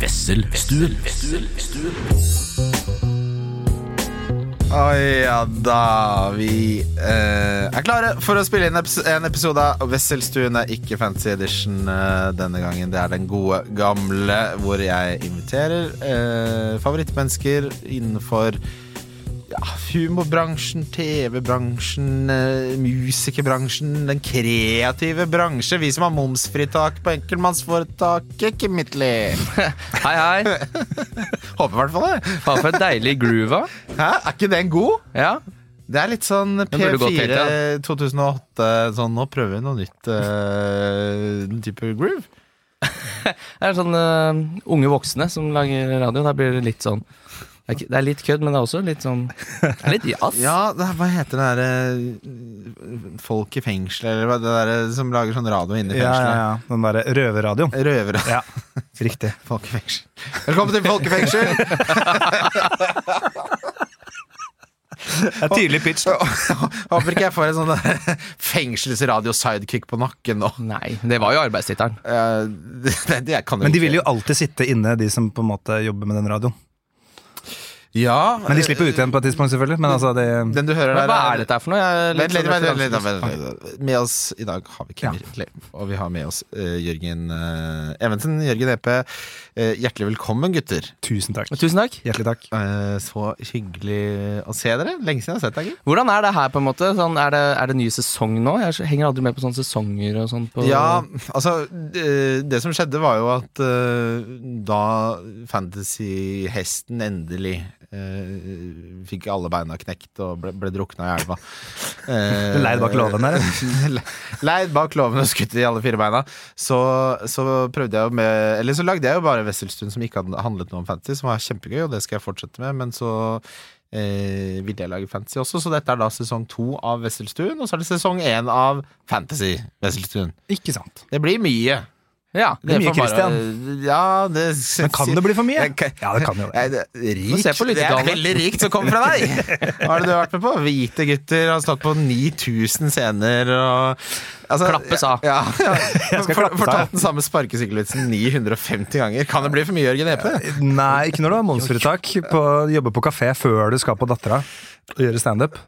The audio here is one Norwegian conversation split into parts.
Wesselstuen. Å ja da. Vi eh, er klare for å spille inn epis- en episode av Wesselstuen. Det er ikke Fancy Edition eh, denne gangen. Det er den gode, gamle, hvor jeg inviterer eh, favorittmennesker innenfor ja, humorbransjen, TV-bransjen, eh, musikerbransjen, den kreative bransje. Vi som har momsfritak på enkeltmannsforetaket, Kim Mittli. Hei, hei. Håper i hvert fall det. Faen for et deilig groove. da. Hæ? Er ikke den god? Ja. Det er litt sånn burde gått helt, P4 2008 Sånn, nå prøver vi noe nytt eh, den type groove Det er sånn eh, unge voksne som lager radio. Da blir det litt sånn det er, ikke- det er litt kødd, men det er også litt sånn Det er litt jazz. Ja, det, er- hva heter det der eh, Folk i fengsel Eller hva det der eh, som lager sånn radio inne i Ja, ja, fengselet ja. Den derre røverradioen. Røvere Ja, riktig. Folk i fengsel Velkommen til Folk i fengsel Det er tydelig pitch. da. Håper ikke jeg får en sånn der fengselsradio sidekick på nakken nå Nei, det var jo arbeidstittelen. Eh, det, det, det kan jo Men de ikke. vil jo alltid sitte inne, de som på en måte jobber med den radioen. Ja Men de slipper ut igjen på et tidspunkt, selvfølgelig. Men altså, det Den du hører der Men hva er dette her for noe? Jeg er litt Vent litt, sånn vent litt, referanseløs. vent litt, vent litt. Med oss i dag har vi Kim Ritley, og vi har med oss eh, Jørgen eh, Evensen. Jørgen Epe, eh, hjertelig velkommen, gutter. Tusen takk. Tusen takk. Hjertelig takk. Eh, så hyggelig å se dere. Lenge siden jeg har sett deg, Kim. Hvordan er det her, på en måte? Sånn, er, det, er det ny sesong nå? Jeg henger aldri med på sånne sesonger og sånn. På, Ja, altså eh, Det som skjedde, var jo at eh, da fantasy-hesten endelig eh, fikk alle beina knekt og ble, ble drukna i elva eh, Leid bak låven der, Le- Leid bak låven og skutt i alle fire beina. Så, så prøvde jeg jo med Eller så lagde jeg jo bare Wesselstuen som ikke hadde handlet noe om fantasy, som var kjempegøy, og det skal jeg fortsette med, men så eh, ville jeg lage fantasy også, så dette er da sesong to av Wesselstuen, og så er det sesong én av Fantasy Wesselstuen. Ikke sant. Det blir mye. ja. Det er mye, får bare- Christian. Ja, det Men kan det bli for mye? Jeg kan- Ja, det kan jo det. Nei, det er Nå Rikt. ser jeg på Det er lyttertallene. veldig rikt som kommer fra deg! Hva er det du har vært med på? Hvite gutter har stått på 9000 scener og altså, Klappes av. Ja, ja. skal For, klappes av. fortalt den samme sparkesykkelvitsen 950 ganger. Kan det bli for mye, Jørgen Epe? Nei, ikke når du har momsfritak. på- Jobbe på kafé før du skal på Dattera og gjøre standup.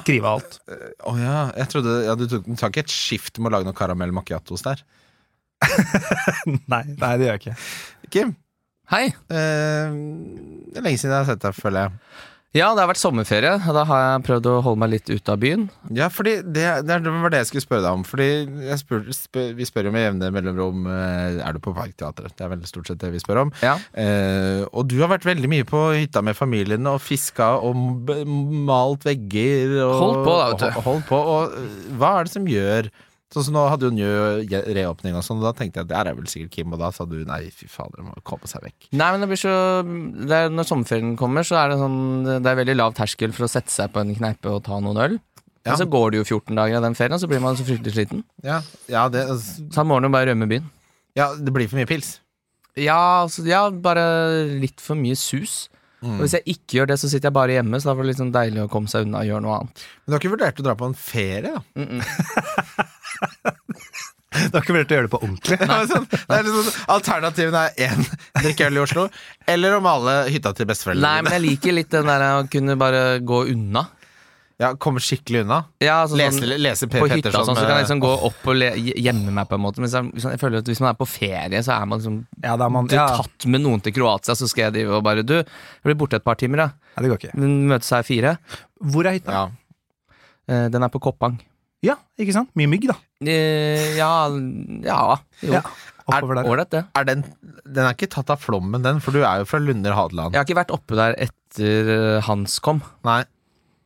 Skrive alt. Å ja. Jeg trodde ja, Du tok, du tar ikke et skift med å lage noen karamell macchiatos der? Nei, nei, det gjør jeg ikke. Kim, Hei. eh, det er lenge siden jeg har sett deg, føler jeg. Ja, det har vært sommerferie, og da har jeg prøvd å holde meg litt ute av byen. Ja, fordi det, det er- det var det jeg skulle spørre deg om. Fordi jeg spør, spør, Vi spør jo med jevne mellomrom eh, Er du på Parkteatret. Det er vel stort sett det vi spør om. Ja. Eh, og du har vært veldig mye på hytta med familien og fiska og b- malt vegger. Og, Holdt på, da, vet du. og- og Holdt på, og eh, hva er det som gjør Sånn som Nå hadde jo Njø je- reåpning, og sånn, og da tenkte jeg at der er vel sikkert Kim, og da sa du nei, fy fader, det må komme seg vekk. Nei, men det blir så det er, Når sommerferien kommer, så er det sånn Det er veldig lav terskel for å sette seg på en kneipe og ta noen øl. Ja. Men så går det jo 14 dager av den ferien, og så blir man så fryktelig sliten. Ja, ja, det, altså, Så han morgenen bare rømme byen. ja det blir for mye pils. Ja, altså, ja, bare litt for mye sus. Og hvis jeg ikke gjør det, så sitter jeg bare hjemme, så da var det litt sånn deilig å komme seg unna og gjøre noe annet. Men du har ikke vurdert å dra på en ferie, da? Du har ikke vurdert å gjøre det på ordentlig? Det er sånn, det er liksom, alternativene er én drikke øl i Oslo, eller å male hytta til Nei, besteforeldrene. men jeg liker litt den der å kunne bare gå unna. Ja, Komme skikkelig unna. Ja, altså, Lese, sånn, lese Per på hytta og Petterson. sånn, så kan eh, jeg liksom gå opp og le, gjemme meg på en måte. Men så, jeg føler at hvis man er på ferie, så er man liksom Ja, da er man, Du ja. tatt med noen til Kroatia, så skal jeg drive og bare Du, jeg blir borte et par timer, da. Nei, det går ikke. Møtes her fire. Hvor er hytta? ja. Eh, Den er på Koppang. Ja, ikke sant? Mye mygg, da. Eh, Ja, ja jo. Ja, oppover der. Ålreit, det. er den, den er ikke tatt av flommen, den, for du er jo fra Lunder Hadeland. Jeg har ikke vært oppe der etter eh, Hans kom. Nei.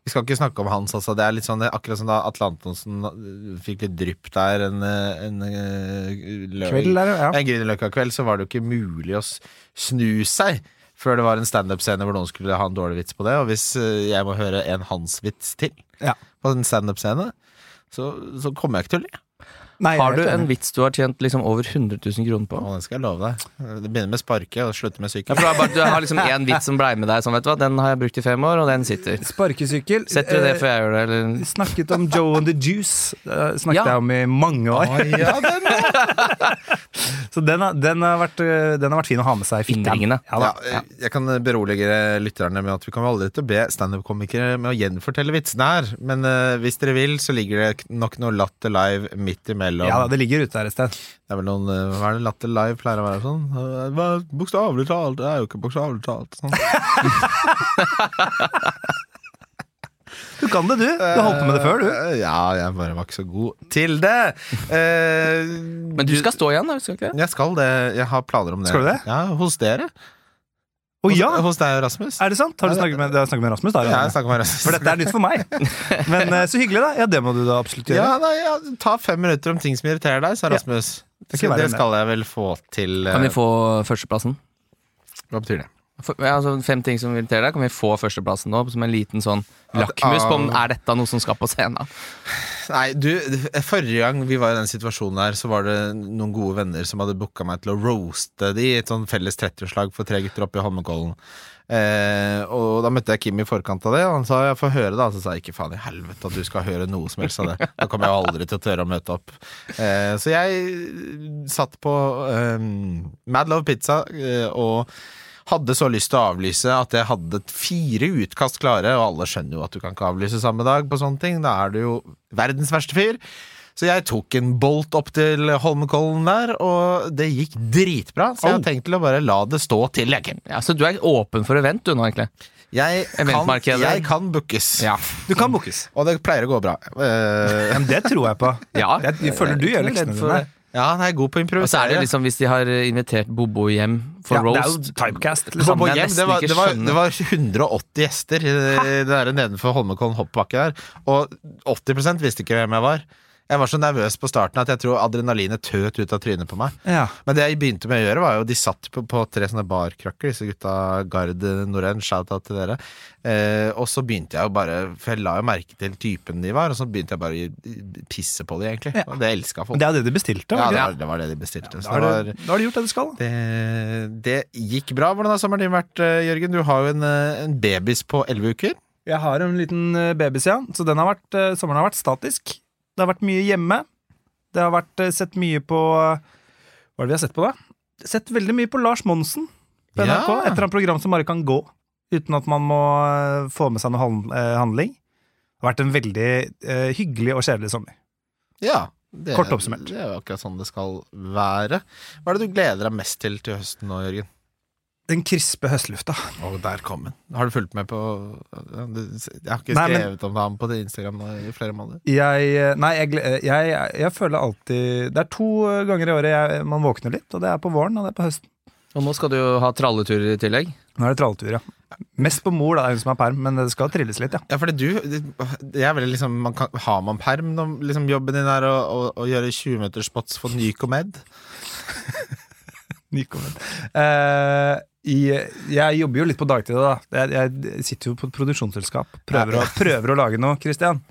Vi skal ikke snakke om hans, altså. Det er litt sånn, det er akkurat som da Atle Antonsen øh, fikk litt drypp der en, øh, en øh, lø- Kveld der, ja. En Grünerløkka-kveld, så var det jo ikke mulig å s- snu seg før det var en standup-scene hvor noen skulle ha en dårlig vits på det. Og hvis øh, jeg må høre en hans-vits til Ja. på en standup-scene, så, så kommer jeg ikke til å le. Nei, jeg er Har du helt en enig. vits du har tjent liksom over 100 000 kroner på? Å, den skal jeg love deg. Det begynner med sparke og slutter med Ja, sykkel. for du, har bare, du har liksom én vits som blei med deg. Sånn, vet du hva? Den har jeg brukt i fem år, og den sitter. Sparkesykkel. Setter du det eh, før jeg gjør det, eller? Snakket om Joe and the Juice. eh, snakket Ja. jeg om i mange år. Å, ja, den, ja. Så den, har- den, har vært, eh, den har vært fin å ha med seg i fingeren. Innringende. Ja, da. Ja, eh, jeg kan berolige lytterne med at vi kommer aldri til å be standup-komikere med å gjenfortelle vitsene her, men eh, hvis dere vil, så ligger det k- nok noe Latter Live midt imellom. ja da, det ligger ute her et sted. Det er vel noen eh, Hva er det Latter Live pleier å være sånn? Eh, hva- Bokstavelig talt. Det er jo ikke bokstavelig talt. Sånn. Du kan det, du. Du holdt på med det før, du. Eh, Ja, jeg bare var ikke så god til det. Eh, Men du skal stå igjen, da? Skal du ikke? det? Jeg skal det. Jeg har planer om det. Skal du det? Ja, Hos dere. Å Hos, ja! hos deg og Rasmus. Er det sant? Har du snakket med, du har snakket med Rasmus? da? eh, Ja, jeg Johanne? snakker med Rasmus. For dette er nytt for meg. Men eh, så hyggelig, da. Ja, det må du da absolutt gjøre. Ja, nei, ja, Ta fem minutter om ting som irriterer deg, sa Ja. Rasmus. Det Så skal være det med. skal jeg vel få til. eh, Kan vi få førsteplassen? Hva betyr det? For, ja, altså, fem ting som irriterer deg. Kan vi få førsteplassen nå? Som en liten sånn At- lakmus på om ah. er dette noe som skal på scenen? Nei, du, Forrige gang vi var i den situasjonen her, så var det noen gode venner som hadde booka meg til å roaste de i et sånn felles 30-årslag for tre gutter oppe i Holmenkollen. Eh, og da møtte jeg Kim i forkant av det, og han sa jeg får høre det. Og så sa jeg ikke faen i helvete at du skal høre noe som helst av det. Da kommer jeg aldri til å tørre å møte opp. Eh, så jeg satt på eh, Mad Love Pizza eh, og hadde så lyst til å avlyse at jeg hadde fire utkast klare, og alle skjønner jo at du kan ikke avlyse samme dag på sånne ting. Da er du jo verdens verste fyr. Så jeg tok en bolt opp til Holmenkollen der, og det gikk dritbra. Så jeg har Au. tenkt til å bare la det stå til, jeg, Kim. Ja, så du er åpen for event, du nå, egentlig? Jeg kan, Eventmarkedet. jeg kan bookes. Du kan bookes. Og det pleier å gå bra. Eh, Ja, men det tror jeg på. Ja. Jeg, jeg føler du Jeg er gjør ikke leksene redd for dine. det. ja, han er god på å Og så er det improvisere. jo liksom hvis de har eh, invitert Bobo hjem for Ja, det er roast. jo typecast. Det Liksom. samme På jeg hjem, det, nesten var, ikke det, var, skjønner. det var 180 gjester i det der nedenfor Holmenkollen hoppbakke der, og 80 visste ikke hvem jeg var. Jeg var så nervøs på starten at jeg tror adrenalinet tøt ut av trynet på meg. Ja. Men det jeg begynte med å gjøre, var jo de satt på, på tre sånne barkrakker, disse gutta Gard Norén, shout-out til dere. Eh, og så begynte jeg jo bare, for jeg la jo merke til typen de var, og så begynte jeg bare å pisse på de, egentlig. Ja. Og det elska Men folk. det er jo det du bestilte. ja, var det det var, det var det de bestilte. ikke? Så det Da har var du, da har du gjort det du skal. da. det, det gikk bra. Hvordan har sommeren din vært, eh, Jørgen? Du har jo en, eh, en babys på elleve uker. Jeg har en liten eh, babys, ja. Så den har vært, eh, sommeren har vært statisk. Det har vært mye hjemme. Det har vært eh, sett mye på Hva er det vi har sett på, da? Sett veldig mye på Lars Monsen på Ja. NRK. Et eller annet program som bare kan gå. Uten at man må eh, få med seg noe han- eh, handling. Det har vært en veldig eh, hyggelig og kjedelig sommer. Ja. Det, Kort oppsummert. Det er jo akkurat sånn det skal være. Hva er det du gleder deg mest til til høsten nå, Jørgen? Den krispe høstlufta. Og der kom den. Har du fulgt med på Jeg har ikke Nei, men- skrevet om ham på det Instagram nå i flere måneder. Jeg, eh, nei, jeg, gle- eh, jeg, jeg føler alltid Det er to eh, ganger i året jeg, man våkner litt, og det er på våren og det er på høsten. Og nå skal du jo ha tralleturer i tillegg. Nå er det tralletur, ja. Mest på mor, da, hun som er perm, men det skal trilles litt, ja. Ja, fordi du det er veldig liksom, man kan, Har man perm når liksom, jobben din er å, å, å gjøre 20-meterspots for Nycomed? Nykommen. Eh, i- jeg jobber jo litt på dagtid, da. Jeg, jeg sitter jo på et produksjonsselskap. Prøver å, prøver å lage noe, Christian.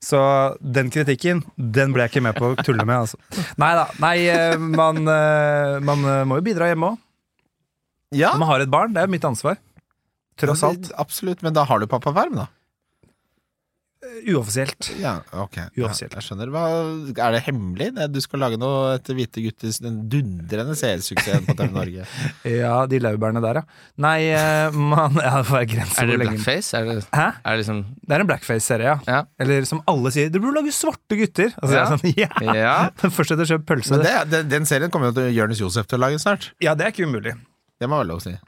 Så den kritikken, den ble jeg ikke med på å tulle med, altså. Nei da. Nei, eh, man, eh, man eh, må jo bidra hjemme òg. Ja, Når man har et barn, det er jo mitt ansvar. Tross alt. Absolutt. Men da har du pappaperm, da. Uoffisielt. Ja, ok ja, Uoffisielt. Jeg skjønner Hva, Er det hemmelig? Det, du skal lage noe etter Hvite gutters Den dundrende seersuksessen på TV Norge Ja, de laurbærene der, ja. Nei, eh, man Ja, det får være grenser Er det hvor lenge- blackface? Er det, Hæ? er det liksom Det er en blackface-serie, ja. Ja. Eller som alle sier, du burde lage svarte gutter. Altså, Ja. jeg er sånn, ja. Ja. Først etter å kjøpe pølse. Men det, den, den serien kommer jo til Jørnes Josef til å lage snart Ja, det er ikke umulig. Det må jeg vel lov å si Du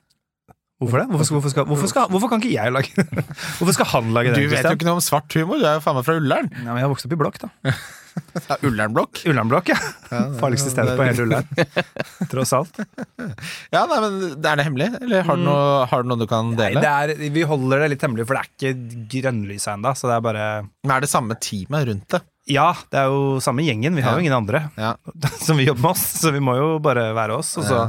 Hvorfor det? Hvorfor, skal, hvorfor, skal, hvorfor, skal, hvorfor kan ikke jeg lage Hvorfor skal han lage den? vet jo ikke noe om svart humor Du er jo faen meg fra Ullern Ja, men jeg har vokst opp i blokk, da. ja, Ullernblokk Ullernblokk, ja. det- Farligste stedet det- på hele Ullern. Tross alt. Ja, nei, men er det hemmelig? Eller har du noe, har du, noe du kan Mm. Nei, dele? det er, vi holder det litt hemmelig, for det er ikke grønnlyset ennå. Så det er bare Men er det samme teamet rundt det? Ja, det er jo samme gjengen. Vi har jo ingen andre Ja som vi jobber med oss, så vi må jo bare være oss. Og så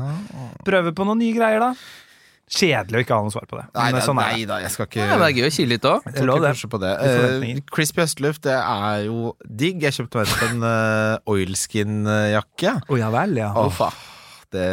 prøve på noen nye greier, da. Kjedelig å ikke ha noe svar på det. Nei, Men da, sånn er det. nei da, jeg skal ikke Ja, men det er gøy å kile litt òg. Jeg tror Lov ikke det. kanskje på det. Litt forventninger. Eh, crispy høstluft, det er jo digg. Jeg kjøpte meg en eh, oilskin-jakke. Å ja vel, ja. Å, faen. Det,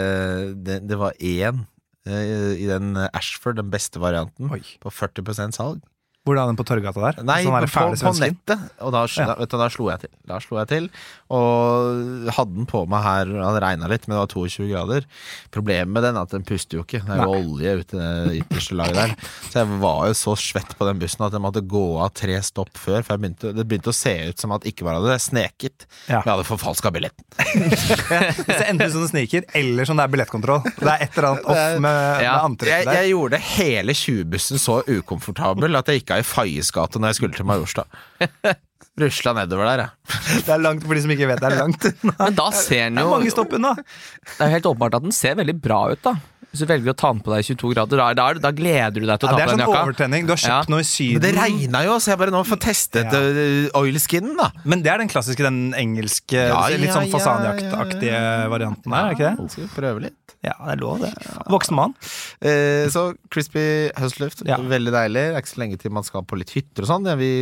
det, det var én eh, i den Ashford, den beste varianten, Oi. på 40 salg. Hvor er den på Torgata der? Nei, sånn der på, fæle på svensken? nettet. Og da, Ja. da, vet du, da slo jeg til. Da slo jeg til Og hadde den på meg her Det hadde regna litt, men det var 22 grader. Problemet med den er at den puster jo ikke. Det er jo olje ute i det ytterste laget der. Så jeg var jo så svett på den bussen at jeg måtte gå av tre stopp før. For jeg begynte, det begynte å se ut som at ikke bare hadde jeg sneket, Ja. men jeg hadde forfalska billetten. Hvis det enten sånne sniker, eller sånn det er billettkontroll. Det er et eller annet off med, med Ja, Jeg, antrekket der. jeg gjorde hele 20-bussen så ukomfortabel at jeg gikk av i Faiesgata når jeg skulle til Majorstad. Rusla nedover der, jeg. Det er langt for de som ikke vet det er langt unna. Men da ser den Det er mange jo stopp unna. Det er jo helt åpenbart at den ser veldig bra ut, da. Hvis du velger å ta den på deg i 22 grader, da, er- da, er- da gleder du deg til Ja, å ta det på er den sånn jakka. overtenning. Du har Ja. kjøpt noe i Men det Syden. regna jo, så jeg bare nå får testet Ja. ja. oilskinen, da. Men det er den klassiske, den engelske, Ja, litt ja, sånn ja, fasanjaktaktige varianten her, er det ikke det? Skal vi prøve litt? Ja, det er lov, det. Voksen mann. Eh, så crispy høstluft, Ja. veldig deilig. Det er ikke så lenge til man skal på litt hytter og sånn. Ja, vi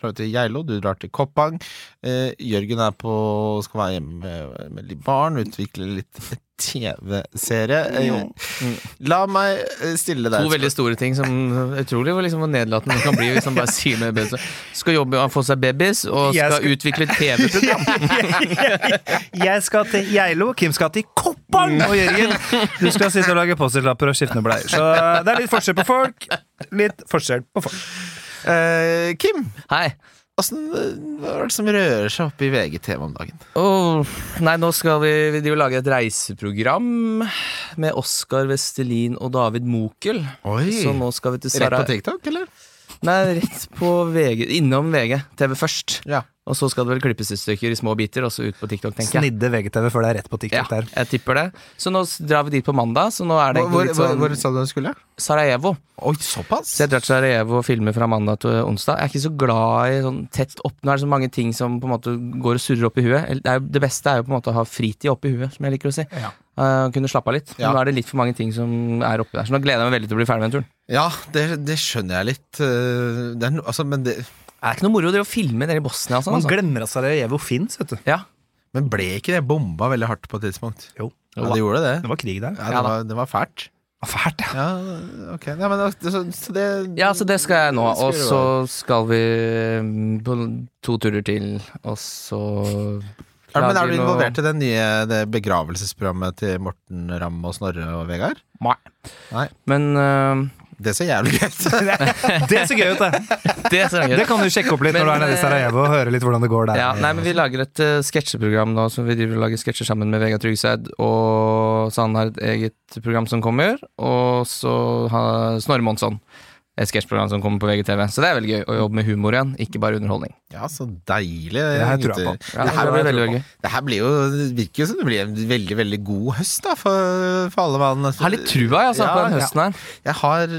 drar til Geilo, du drar til Koppang. Eh, Jørgen er på skal være hjemme med, med litt barn, utvikle litt TV-serie. Mm. Eh, la meg eh, stille deg To veldig store ting som utrolig hvor liksom hvor nedlatende man kan bli hvis man bare sier med baby. Skal jobbe og få seg babys, og Jeg skal skal- utvikle TV-program. Jeg skal til Geilo, Kim skal til Koppang og Jørgen. Du skal sitte og lage Post-It-lapper og skifte bleier. Så det er litt forskjell på folk. Litt forskjell på folk. Eh, Kim, Hei. åssen eh, hva er det som rører seg oppe i VGTV om dagen? Åh, nei, nå skal vi, vi driver og lager et reiseprogram med Oskar Vestelin og David Mokel. Oi. Så nå skal vi til Rett Sara... på TikTok, eller? Nei, rett på VG. Innom VG. TV først. Ja. Og så skal det vel klippes i stykker i små biter, og så ut på TikTok, tenker jeg. Snidde VGTV før det er rett på Ja, Sånn, TikTok der. jeg tipper det. Så nå s- drar vi dit på mandag, så nå er det Hvor, egentlig hvor, litt hvor, sånn hvor sa du du skulle? Sarajevo. Oi, såpass? Så jeg drar til Sarajevo og filmer fra mandag til onsdag. Jeg er ikke så glad i sånn tett opp Nå er det så mange ting som på en måte går og surrer opp i huet. Eller Det, er, jo- det beste er jo på en måte å ha fritid oppi huet, som jeg liker å si. Ja. Eh, kunne slappe av litt. Ja. Men Nå er det litt for mange ting som er oppi der. Så nå gleder jeg meg veldig til å bli ferdig med den turen. Ja, det, det skjønner jeg litt. eh, Det er no, altså, men, det, Det er ikke noe moro å drive og filme nede i Bosnia og sånn. Man Altså. glemmer at Sarajevo fins, vet du. Ja. men ble ikke det bomba veldig hardt på et tidspunkt? Jo. Ja, det gjorde det. Det var krig der. Ja, det, Ja da. var, det var fælt. Fælt, ja. Ja, ok. Ja, men altså, det, så, så det ja, så det skal jeg nå. Det skal Og du så skal vi mm, på to turer til, og så er, Men er lager du noe- involvert i det nye det begravelsesprogrammet til Morten Ramm og Snorre og Vegard? Nei. Nei. Men eh, Det ser jævlig gøy ut. Det er så gøy ut, det. det ser jeg Det kan du sjekke opp litt når du er Men, eh, nede i Sarajevo og høre litt hvordan det går der. Ja, nei, men Vi lager et eh, sketsjeprogram nå, som vi driver og lager sketsjer sammen med Vegard Tryggeseid. Og så han har et eget program som kommer, og så har Snorre Monsson et sketsjprogram som kommer på VGTV. Så det er veldig gøy å jobbe med humor igjen, ikke bare underholdning. Ja, så deilig. her tror jeg gutter. på. Ja, det, her blir det blir veldig gøy. det her blir jo, det virker jo som det blir en veldig veldig god høst da, for, for alle mann. Har litt trua jeg, Ja, altså, på den ja. høsten her. Jeg har,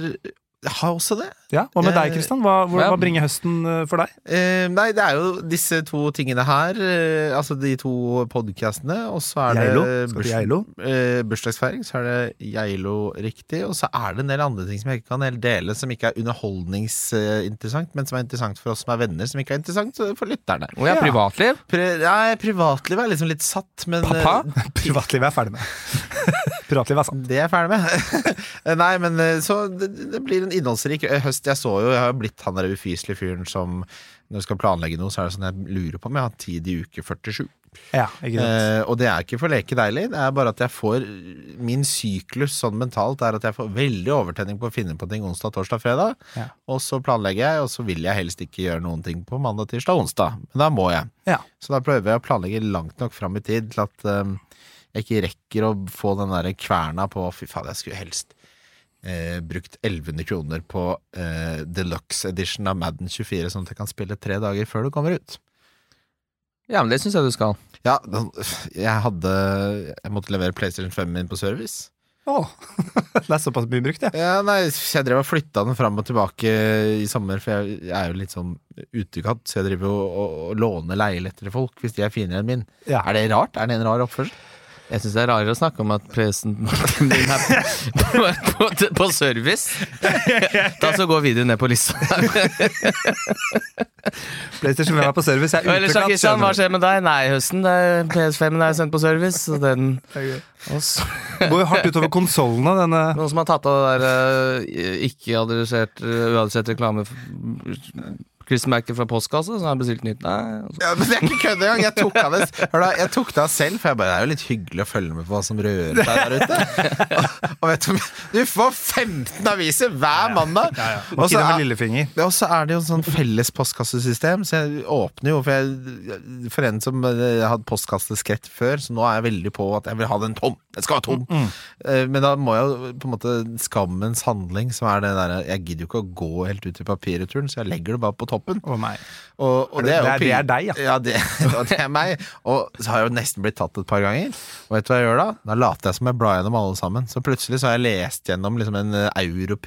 jeg har også det. Ja, Hva med deg, Kristian? Hva, hvor- Eh, Ja. hva bringer høsten eh, for deg? Eh, nei, det er jo disse to tingene her. eh, altså de to podkastene, og så er det Skal burs- til Geilo? eh, bursdagsfeiring. Så er det Geilo riktig, og så er det en del andre ting som jeg ikke kan helt dele, som ikke er underholdningsinteressant, men som er interessant for oss som er venner, som ikke er interessant for lytterne. Og jeg har Ja. privatliv. Pri nei, privatlivet er liksom litt satt, men eh, Pappa. Privatlivet er jeg ferdig med. Privatlivet er sant. Det er jeg ferdig med. Nei, men eh, så det, det blir en innholdsrik eh, høst. Jeg så jo, jeg har jo blitt han der ufyselige fyren som når du skal planlegge noe, så er det sånn jeg lurer på om jeg har tid i uke 47. Ja, ikke sant. Eh, og det er ikke for leke deilig, det er bare at jeg får Min syklus sånn mentalt er at jeg får veldig overtenning på å finne på ting onsdag, torsdag, fredag. Ja. Og så planlegger jeg, og så vil jeg helst ikke gjøre noen ting på mandag, tirsdag, onsdag. Men da må jeg. Eh, Ja. Så da prøver jeg å planlegge langt nok fram i tid til at eh, jeg ikke rekker å få den der kverna på Fy faen, jeg skulle helst eh, brukt 1100 kroner på eh, deluxe edition av Madden 24, sånn at jeg kan spille tre dager før det kommer ut. Ja, men det syns jeg du skal. Ja, da- jeg hadde Jeg måtte levere PlayStation 5 min på service. Åh, det er såpass mye brukt, det. Ja, nei, jeg drev og flytta den fram og tilbake i sommer, for jeg, jeg er jo litt sånn utekatt, så jeg driver jo og, og, og låner leiligheter til folk hvis de er finere enn min. Ja. Er det rart? Er det en rar oppførsel? Jeg syns det er rarere å snakke om at presenten din er på, på, på service. Da så går videoen ned på lista. PlayStation 5 er på service. Jeg er Eller Jan uteklatt. Kristian, hva skjønner skjer med deg? Nei, i høsten. Det er PS5-en er sendt på service. Så den du. og så- Det går jo hardt utover konsollene, denne Noen som har tatt av det der eh, ikke-adressert, eh, uadressert reklame Christmerket fra postkassa, som har bestilt nytt. Nei, og så- Ja, men det er ikke kødd engang. Jeg tok av det Hør da, jeg tok det av selv, for jeg bare, det er jo litt hyggelig å følge med på hva som rører seg der ute. Og, og vet du, du får 15 aviser hver mandag! Og Og så så med er, lillefinger. ja, og så er det jo en sånn felles postkassesystem, så jeg åpner jo For, jeg, for en som eh, hadde postkasseskrekk før, så nå er jeg veldig på at jeg vil ha den tom. Den skal være tom. Mm. Eh, Men da må jeg jo på en måte Skammens handling, som er det derre Jeg gidder jo ikke å gå helt ut i papirreturen, så jeg legger det bare på toppen. Å nei. Og, og det, det- er jo det er- det er pin- deg, ja. det, og det er meg. Og så har jeg jo nesten blitt tatt et par ganger. Og vet du hva jeg gjør da? Da later jeg som jeg blar gjennom alle sammen. Så plutselig så har jeg lest gjennom liksom en eh,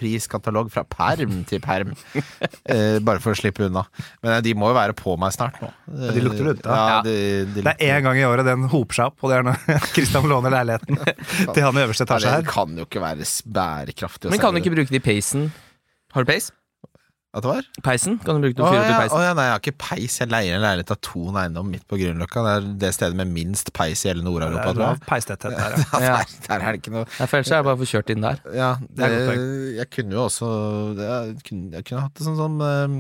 europriskatalog fra perm til perm. eh, bare for å slippe unna. Men eh, de må jo være på meg snart nå. Ja, de lukter ut, da. Ja, Ja. de, de Det er én gang i året den hoper seg opp, og det er når Kristian låner leiligheten til han i øverste Ja, etasje det her. kan jo ikke være s- bærekraftig. å Men kan du selge ikke det. bruke det i peisen? Har du peis? At det var? Peisen? Kan du bruke det Å til å fyre opp ja, i å peisen? ja, nei, jeg har ikke peis. Jeg leier en leilighet av Thon eiendom midt på Grünerløkka. Det er det stedet med minst peis i hele Det Nord-Europa, er tror jeg. lav peistetthet her, ja. Ja, Ja. der, der er det ikke noe Nei, for ellers er jeg bare for kjørt inn der. Ja, Det er det, et godt jeg kunne jo også Jeg kunne, jeg kunne hatt det sånn som eh,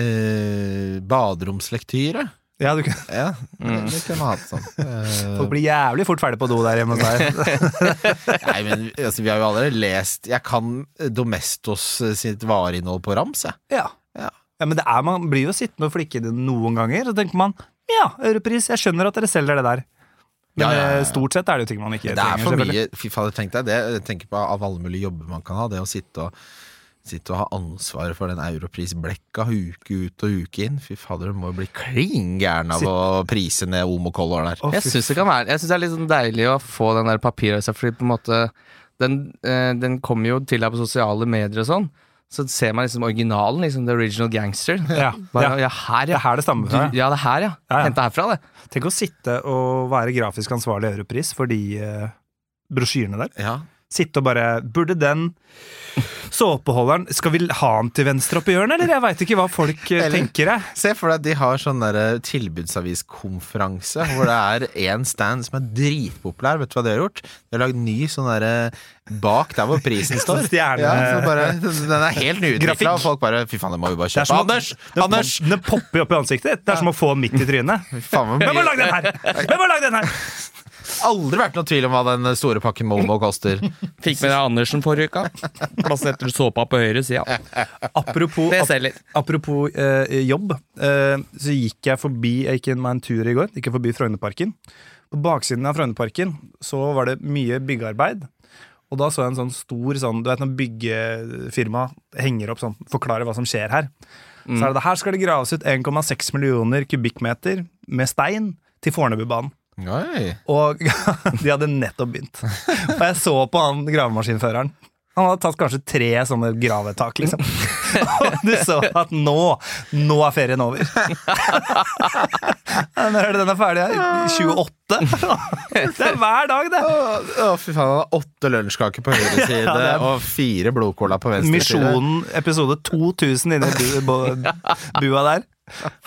eh, baderomslektyre. ja du kan. Ja, det, det kunne jeg hatt sånn. Eh, Folk blir jævlig fort ferdig på do der hjemme hos deg. nei, men altså, vi har jo allerede lest Jeg kan eh, Domestos eh, sitt vareinnhold på rams, jeg. Ja. Ja. ja, men det er, man blir jo sittende og flikke det noen ganger, så tenker man ja, Europris, jeg skjønner at dere selger det der. Men Ja, ja, ja, ja. eh, stort sett er det jo ting man ikke Det er trenger. for selvfølgelig. mye Fy fader, tenk deg det. Jeg tenker på av alle mulige jobber man kan ha, det å sitte og Sitte og ha ansvaret for den europrisblekka uke ut og uke inn. Fy fader, du må jo bli klin gæren av å prise ned Omo Color der. Å, Jeg fy syns det kan være Jeg synes det er litt sånn deilig å få den der papirøysa, fordi på en måte den, eh, den kommer jo til deg på sosiale medier og sånn. Så ser man liksom originalen, liksom the original gangster. Ja, Bare, ja. ja. her, Det ja. er her det stammer fra. Du, ja, det er her, ja. Ja, ja. Henta herfra, det. Tenk å sitte og være grafisk ansvarlig i Europris for de eh, brosjyrene der. Ja, Sitte og bare Burde den såpeholderen Skal vi ha den til venstre opp i hjørnet, eller? Jeg veit ikke hva folk eh, Eller- tenker, jeg. Se for deg at de har sånn der tilbudsaviskonferanse hvor det er én stand som er dritpopulær. Vet du hva de har gjort? De har lagd ny sånn derre bak der hvor prisen står. Sånn stjerne- Ja, så bare, den er helt Grafikk. nyutvikla, og folk bare Fy faen, det må vi bare Det er kjøpe. som å- Anders! Den, Anders! Den popper jo opp i ansiktet ditt. Det er som å få den midt i trynet. Faen, hvor Hvem har mye- lagd den her?! Hvem har lagd den her?! Aldri vært noe tvil om hva den store pakken Momo koster. Fikk med deg Andersen forrige uka. Plasserte såpa på høyre side. Apropos, Det selger. apropos eh, jobb, eh, så gikk jeg forbi Jeg gikk meg en tur i går, gikk jeg forbi Frognerparken. På baksiden av Frognerparken så var det mye byggearbeid. Og da så jeg en sånn stor sånn Du vet når byggefirma henger opp sånn, forklarer hva som skjer her. Så er det her skal det graves ut 1,6 millioner kubikkmeter med stein til Fornebubanen. Oi. Og de hadde nettopp begynt. Og jeg så på han gravemaskinføreren. Han hadde tatt kanskje tre sånne gravetak, liksom. Og du så at nå, nå er ferien over. Når er det den er ferdig her? 28? Det er hver dag, det. Å, å, fy faen, han har åtte lunsjkaker på høyre side det er- og fire blodcola på venstre side. Misjonen episode 2000 inne i bu- bu- bua der.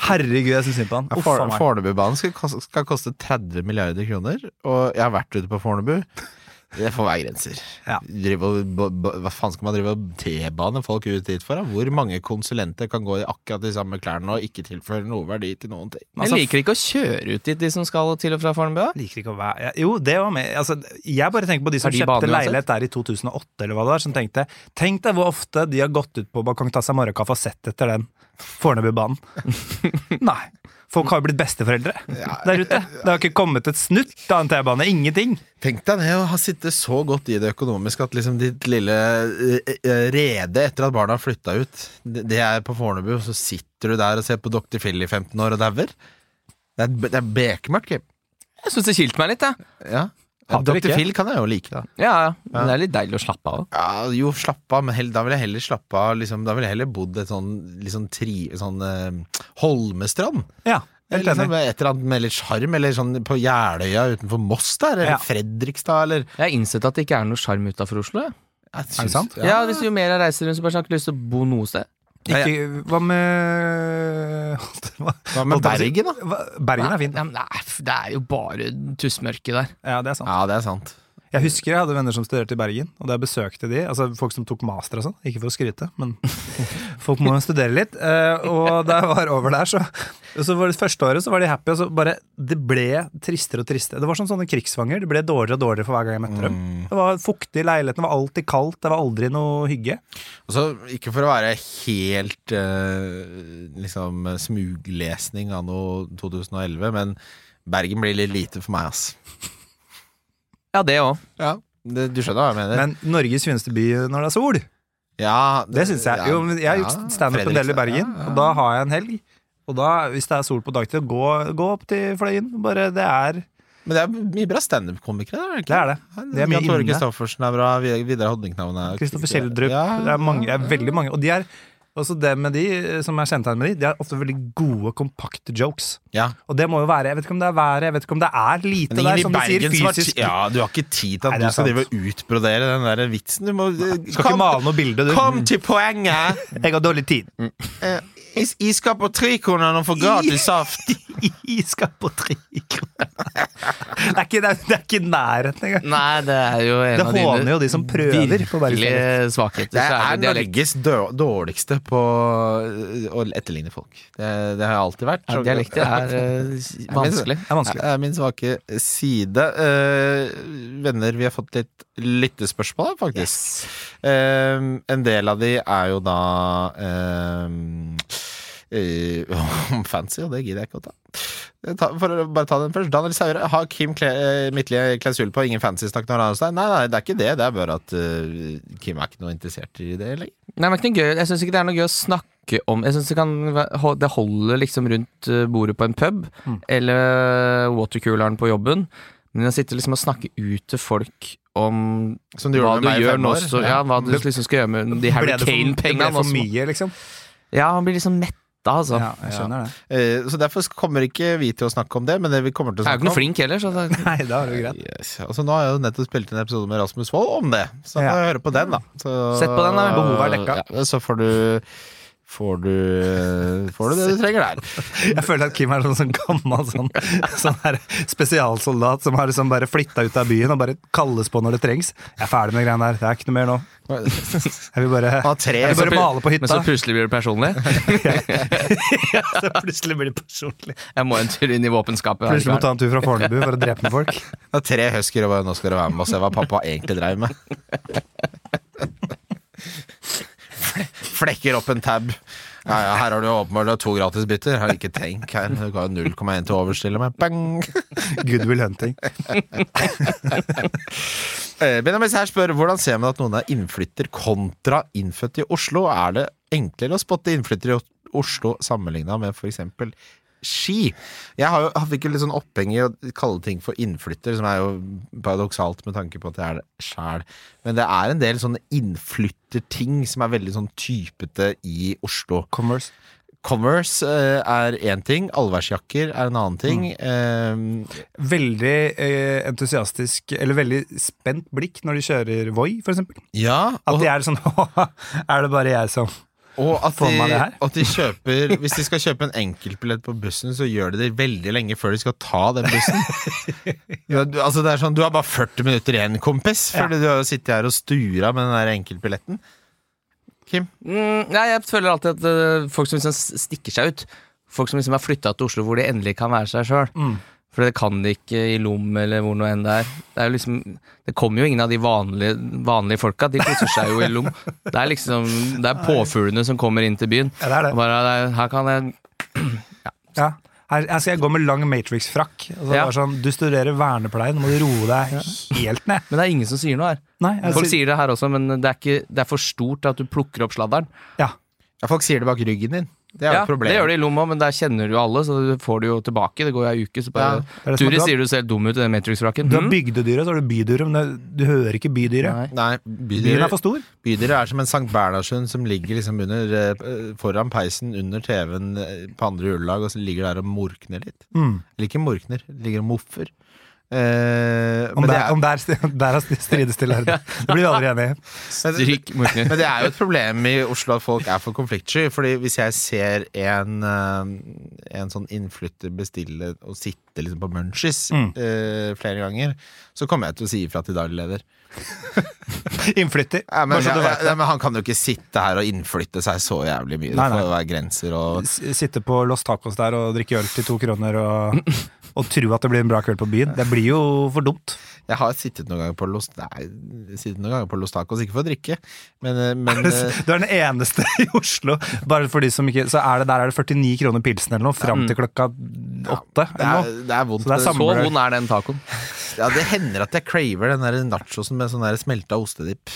Herregud, jeg syns synd på han. Ja, Uff, faen For- meg. Fornebubanen skal, kos- skal koste 30 milliarder kroner, og jeg har vært ute på Fornebu. Det får være grenser. Ja. Drive og, b- b- hva faen skal man drive og T-bane folk ut dit for? da? Hvor mange konsulenter kan gå i akkurat de samme klærne og ikke tilføre noe verdi til noen ting? Altså- Men liker ikke å kjøre ut dit, de som skal til og fra Fornebu? Liker ikke å være Jo, det var med. Altså, jeg bare tenker på de som Er de kjøpte banen uansett? leilighet der i 2008, eller hva det var, som tenkte Tenk deg hvor ofte de har gått ut på Balkong Tassa Morgenkaffe og sett etter den Fornebubanen. Nei. Folk har jo blitt besteforeldre der ute. Det har ikke kommet et snutt av en T-bane. Ingenting. Tenk deg det å ha sittet så godt i det økonomiske at liksom ditt lille eh, eh, rede etter at barna har flytta ut, det det er på Fornebu, og så sitter du der og ser på Dr. Phil i 15 år og dauer. Det er, det er bekmørkt, Kim. Jeg syns det kilte meg litt, jeg. Ja. Dr. Hater ikke. Phil kan jeg jo like, da. Ja, ja. Men det er litt deilig å slappe av. Ja, jo, slapp av, men hell, da ville jeg heller slappe av liksom, Da ville jeg heller bodd et sånn, liksom, tri, sånn eh, Holmestrand. Ja. Helt Eller enig. liksom et eller annet med litt sjarm, eller sånn på Jeløya utenfor Moss der, eller Ja. Fredrikstad, eller Jeg har innsett at det ikke er noe sjarm utafor Oslo. jeg. Er sant? Ja. hvis Jo mer jeg reiser rundt, så bare har jeg ikke lyst til å bo noe sted. sånn- Ikke, hva med hva, Hva med holdt jeg på å si- Bergen, da? hva- Bergen er fint. Nei, men det er- det er jo bare tussmørke der. Ja, det er sant. Ja, det er sant. Jeg husker jeg hadde venner som studerte i Bergen, og da jeg besøkte de, altså folk som tok master og sånn, ikke for å skryte, men folk må jo studere litt, eh, og da jeg var over der, så, så var det første året så var de happy, og så bare, det ble tristere og tristere. Det var som sånne krigsfanger, det ble dårligere og dårligere for hver gang jeg møtte dem. Mm. Det var fuktig i leiligheten, det var alltid kaldt, det var aldri noe hygge. Og så, ikke for å være helt eh, liksom smuglesning anno 2011, men Bergen blir litt lite for meg, ass. Ja, det òg. Ja, det, Du skjønner hva jeg mener? Men Norges fineste by når det er sol, ja, det synes jeg. Jo, men jeg har gjort standup en del i Fredrikstad. Bergen, Ja, ja. og da har jeg en helg. Og da, hvis det er sol på dagtid, gå, gå opp til fløyen, bare det er... Men det er mye bra standup-komikere der, Det er det. Det er mye Tore inne. Kristoffersen er bra, Vid- Vidar Hodningknavn er Kristoffer Kjeldrup. Ja, Det er mange, det er veldig mange. Og de er også det med de eh, som er kjennetegn med de, de er ofte veldig gode, kompakte jokes. ja. Og det må jo være Jeg vet ikke om det er været, jeg vet ikke om det er lite Men der, ingen i som de sier Bergen som har ti- fysisk. Ja, du har ikke tid til Nei, at det du er skal sant. drive og utbrodere den der vitsen. Du må Skal ikke male noe bilde, du. Kom til poenget! Jeg har dårlig tid. Eh, is- Iskap og tre kroner og får gratis saft. Jeg skal på tre kroner. Det er ikke- det er- det er ikke i nærheten engang. Nei, det er jo en Det av dine håner jo de som prøver på Bergen. virkelig svakheter. Det så er det dialekt. Norges dø- dårligste på eh, å etterligne folk. Det, det har jeg alltid vært. Ja, dialekter er eh, s- vanskelig. Det er vanskelig. Det er min svake side. Eh, venner, vi har fått litt lyttespørsmål, faktisk. Eh, en del av de er jo da eh, eh, om fancy, og det gidder jeg ikke å ta. Jeg tar- For å bare ta den først. Daniel Saure, har Kim Kle eh, Midtlie klausul på ingen fancy snakk når han er hos deg? Nei, nei, det er ikke det. Det er bare at eh, Kim er ikke noe interessert i det lenger. Nei, men det er ikke noe gøy. Jeg syns ikke det er noe gøy å snakke om. Jeg synes det, kan, væ- det holder liksom rundt eh, bordet på en pub, Mm. eller eh, watercooleren på jobben. Men å sitte liksom og snakke ut til folk om Som hva med du meg i gjør fem nå, år. så, ja, hva du liksom skal gjøre med de Harry Ble det for- Kane-pengene. Ble det for også. mye, liksom? Ja, han blir liksom Sånn. metta, altså. Ja, jeg skjønner det. Eh, Så derfor kommer ikke vi til å snakke om det, men det vi kommer til å Jeg er jo ikke snakke noe om flink heller, så det, Nei, da er det jo greit. yes. Altså, Nå har jeg jo nettopp spilt inn en episode med Rasmus Wold om det, så Ja. ja. høre på den, da. Så, Sett på den, da. Behovet er dekka. Ja, så får du Får du, får du det du trenger der. Jeg føler at Kim er sånn, sånn gammel sånn, sånn her spesialsoldat som har liksom bare flytta ut av byen og bare kalles på når det trengs. Jeg er ferdig med greiene der. Det er ikke noe mer nå. Jeg vil bare, Ha tre jeg vil så bare male på men så hytta. plutselig blir det personlig. Så plutselig blir det personlig. Jeg må en tur inn i våpenskapet. her i Plutselig kveld. må du liksom ta en tur fra Fornebu for å drepe noen folk. ha tre husker og bare 'nå skal du være med og se hva pappa egentlig dreiv med'. Fle- Flekker opp en tab. Ja, ja, her har du åpenbart to gratisbytter. Har ikke tenk her. Du ga jo 0,1 til overs til og med. Bang! Goodwill hunting. Eh, Benjamin her spør hvordan ser man at noen er innflytter kontra innfødt i Oslo? Er det enklere å spotte innflyttere i O- Oslo sammenligna med f.eks. Ski? Jeg har jo, jeg fikk jo litt sånn oppheng i å kalle ting for innflytter, som er jo paradoksalt med tanke på at jeg er det sjæl. Men det er en del sånne innflytterting som er veldig sånn typete i Oslo. Converse. Converse eh, er én ting, allværsjakker er en annen ting. Eh, Veldig eh, entusiastisk, eller veldig spent blikk når de kjører Voi, for eksempel. ja, At og- de er sånn Er det bare jeg som Og at Får de, man det her? at de kjøper Hvis de skal kjøpe en enkeltbillett på bussen, så gjør de det veldig lenge før de skal ta den bussen. ja, du, altså det er sånn, du har bare 40 minutter igjen, kompis, Fordi du har jo sittet her og stura med den der enkeltbilletten. Kim? Mm, nei, jeg føler alltid at øh, folk som liksom s- stikker seg ut Folk som liksom har flytta til Oslo hvor de endelig kan være seg sjøl. Mm. For det kan de ikke i Lom eller hvor nå enn det er. Det, er jo liksom, det kommer jo ingen av de vanlige, vanlige folka. De koser seg jo i Lom. Det er liksom Det er påfuglene som kommer inn til byen. Ja, det er det. Og Bare, "Nei, her kan jeg Ja. Her, her skal jeg gå med lang Matrix-frakk. Og så Ja. bare sånn, du studerer vernepleie, nå må du roe deg helt ned. Men det er ingen som sier noe her. Nei, jeg Folk sier- sier det her også, men det er, ikke, det er for stort at du plukker opp sladderen. ja. Ja, folk sier det bak ryggen din. Det er jo ja, et problem. Det gjør det i lomma, men der kjenner du alle, så du får det jo tilbake. Det går jo ei uke, så Ja. bare Det er det som er Turi bra. sier du ser dum ut i den Matrix-frakken. Du har Hm? bygdedyret, så har du bydyret, men det- du hører ikke bydyret. Nei. Nei, Byen bydyret er for stor. bydyret er som en Sankt Bernhardshund som ligger liksom under, eh, foran peisen under TV-en eh, på andre juledag og så ligger der og morkner litt. Mm. Eller ikke morkner, ligger og moffer. Eh, Om, men, det der, er, om der, der er strides til lærde. Det blir vi aldri enige i. Stryk morkner. men det er jo et problem i Oslo at folk er for konfliktsky. Fordi hvis jeg ser en, eh, en sånn innflytter bestille og sitte liksom på munchies Mm. eh, flere ganger, så kommer jeg til å si ifra til daglig leder. Innflytter. Ja, men, Bare så du ja, vet ja, men han kan jo ikke sitte her og innflytte seg så jævlig mye. Det Nei, nei. får jo være grenser og S- Sitte på Los Tacos der og drikke øl til to kroner og, og tro at det blir en bra kveld på byen. Det blir jo for dumt. Jeg har sittet noen ganger på Los, nei, sittet noen ganger på Los Tacos, ikke for å drikke, men, eh, men Du eh, er den eneste i Oslo. Bare for de som ikke Så er det, der er det 49 kroner pilsen eller noe fram til klokka åtte. det eller er, noe. det er vondt. Så det er Så samme- vond er den tacoen. ja, det hender at jeg craver den der nachosen med sånn der smelta ostedipp.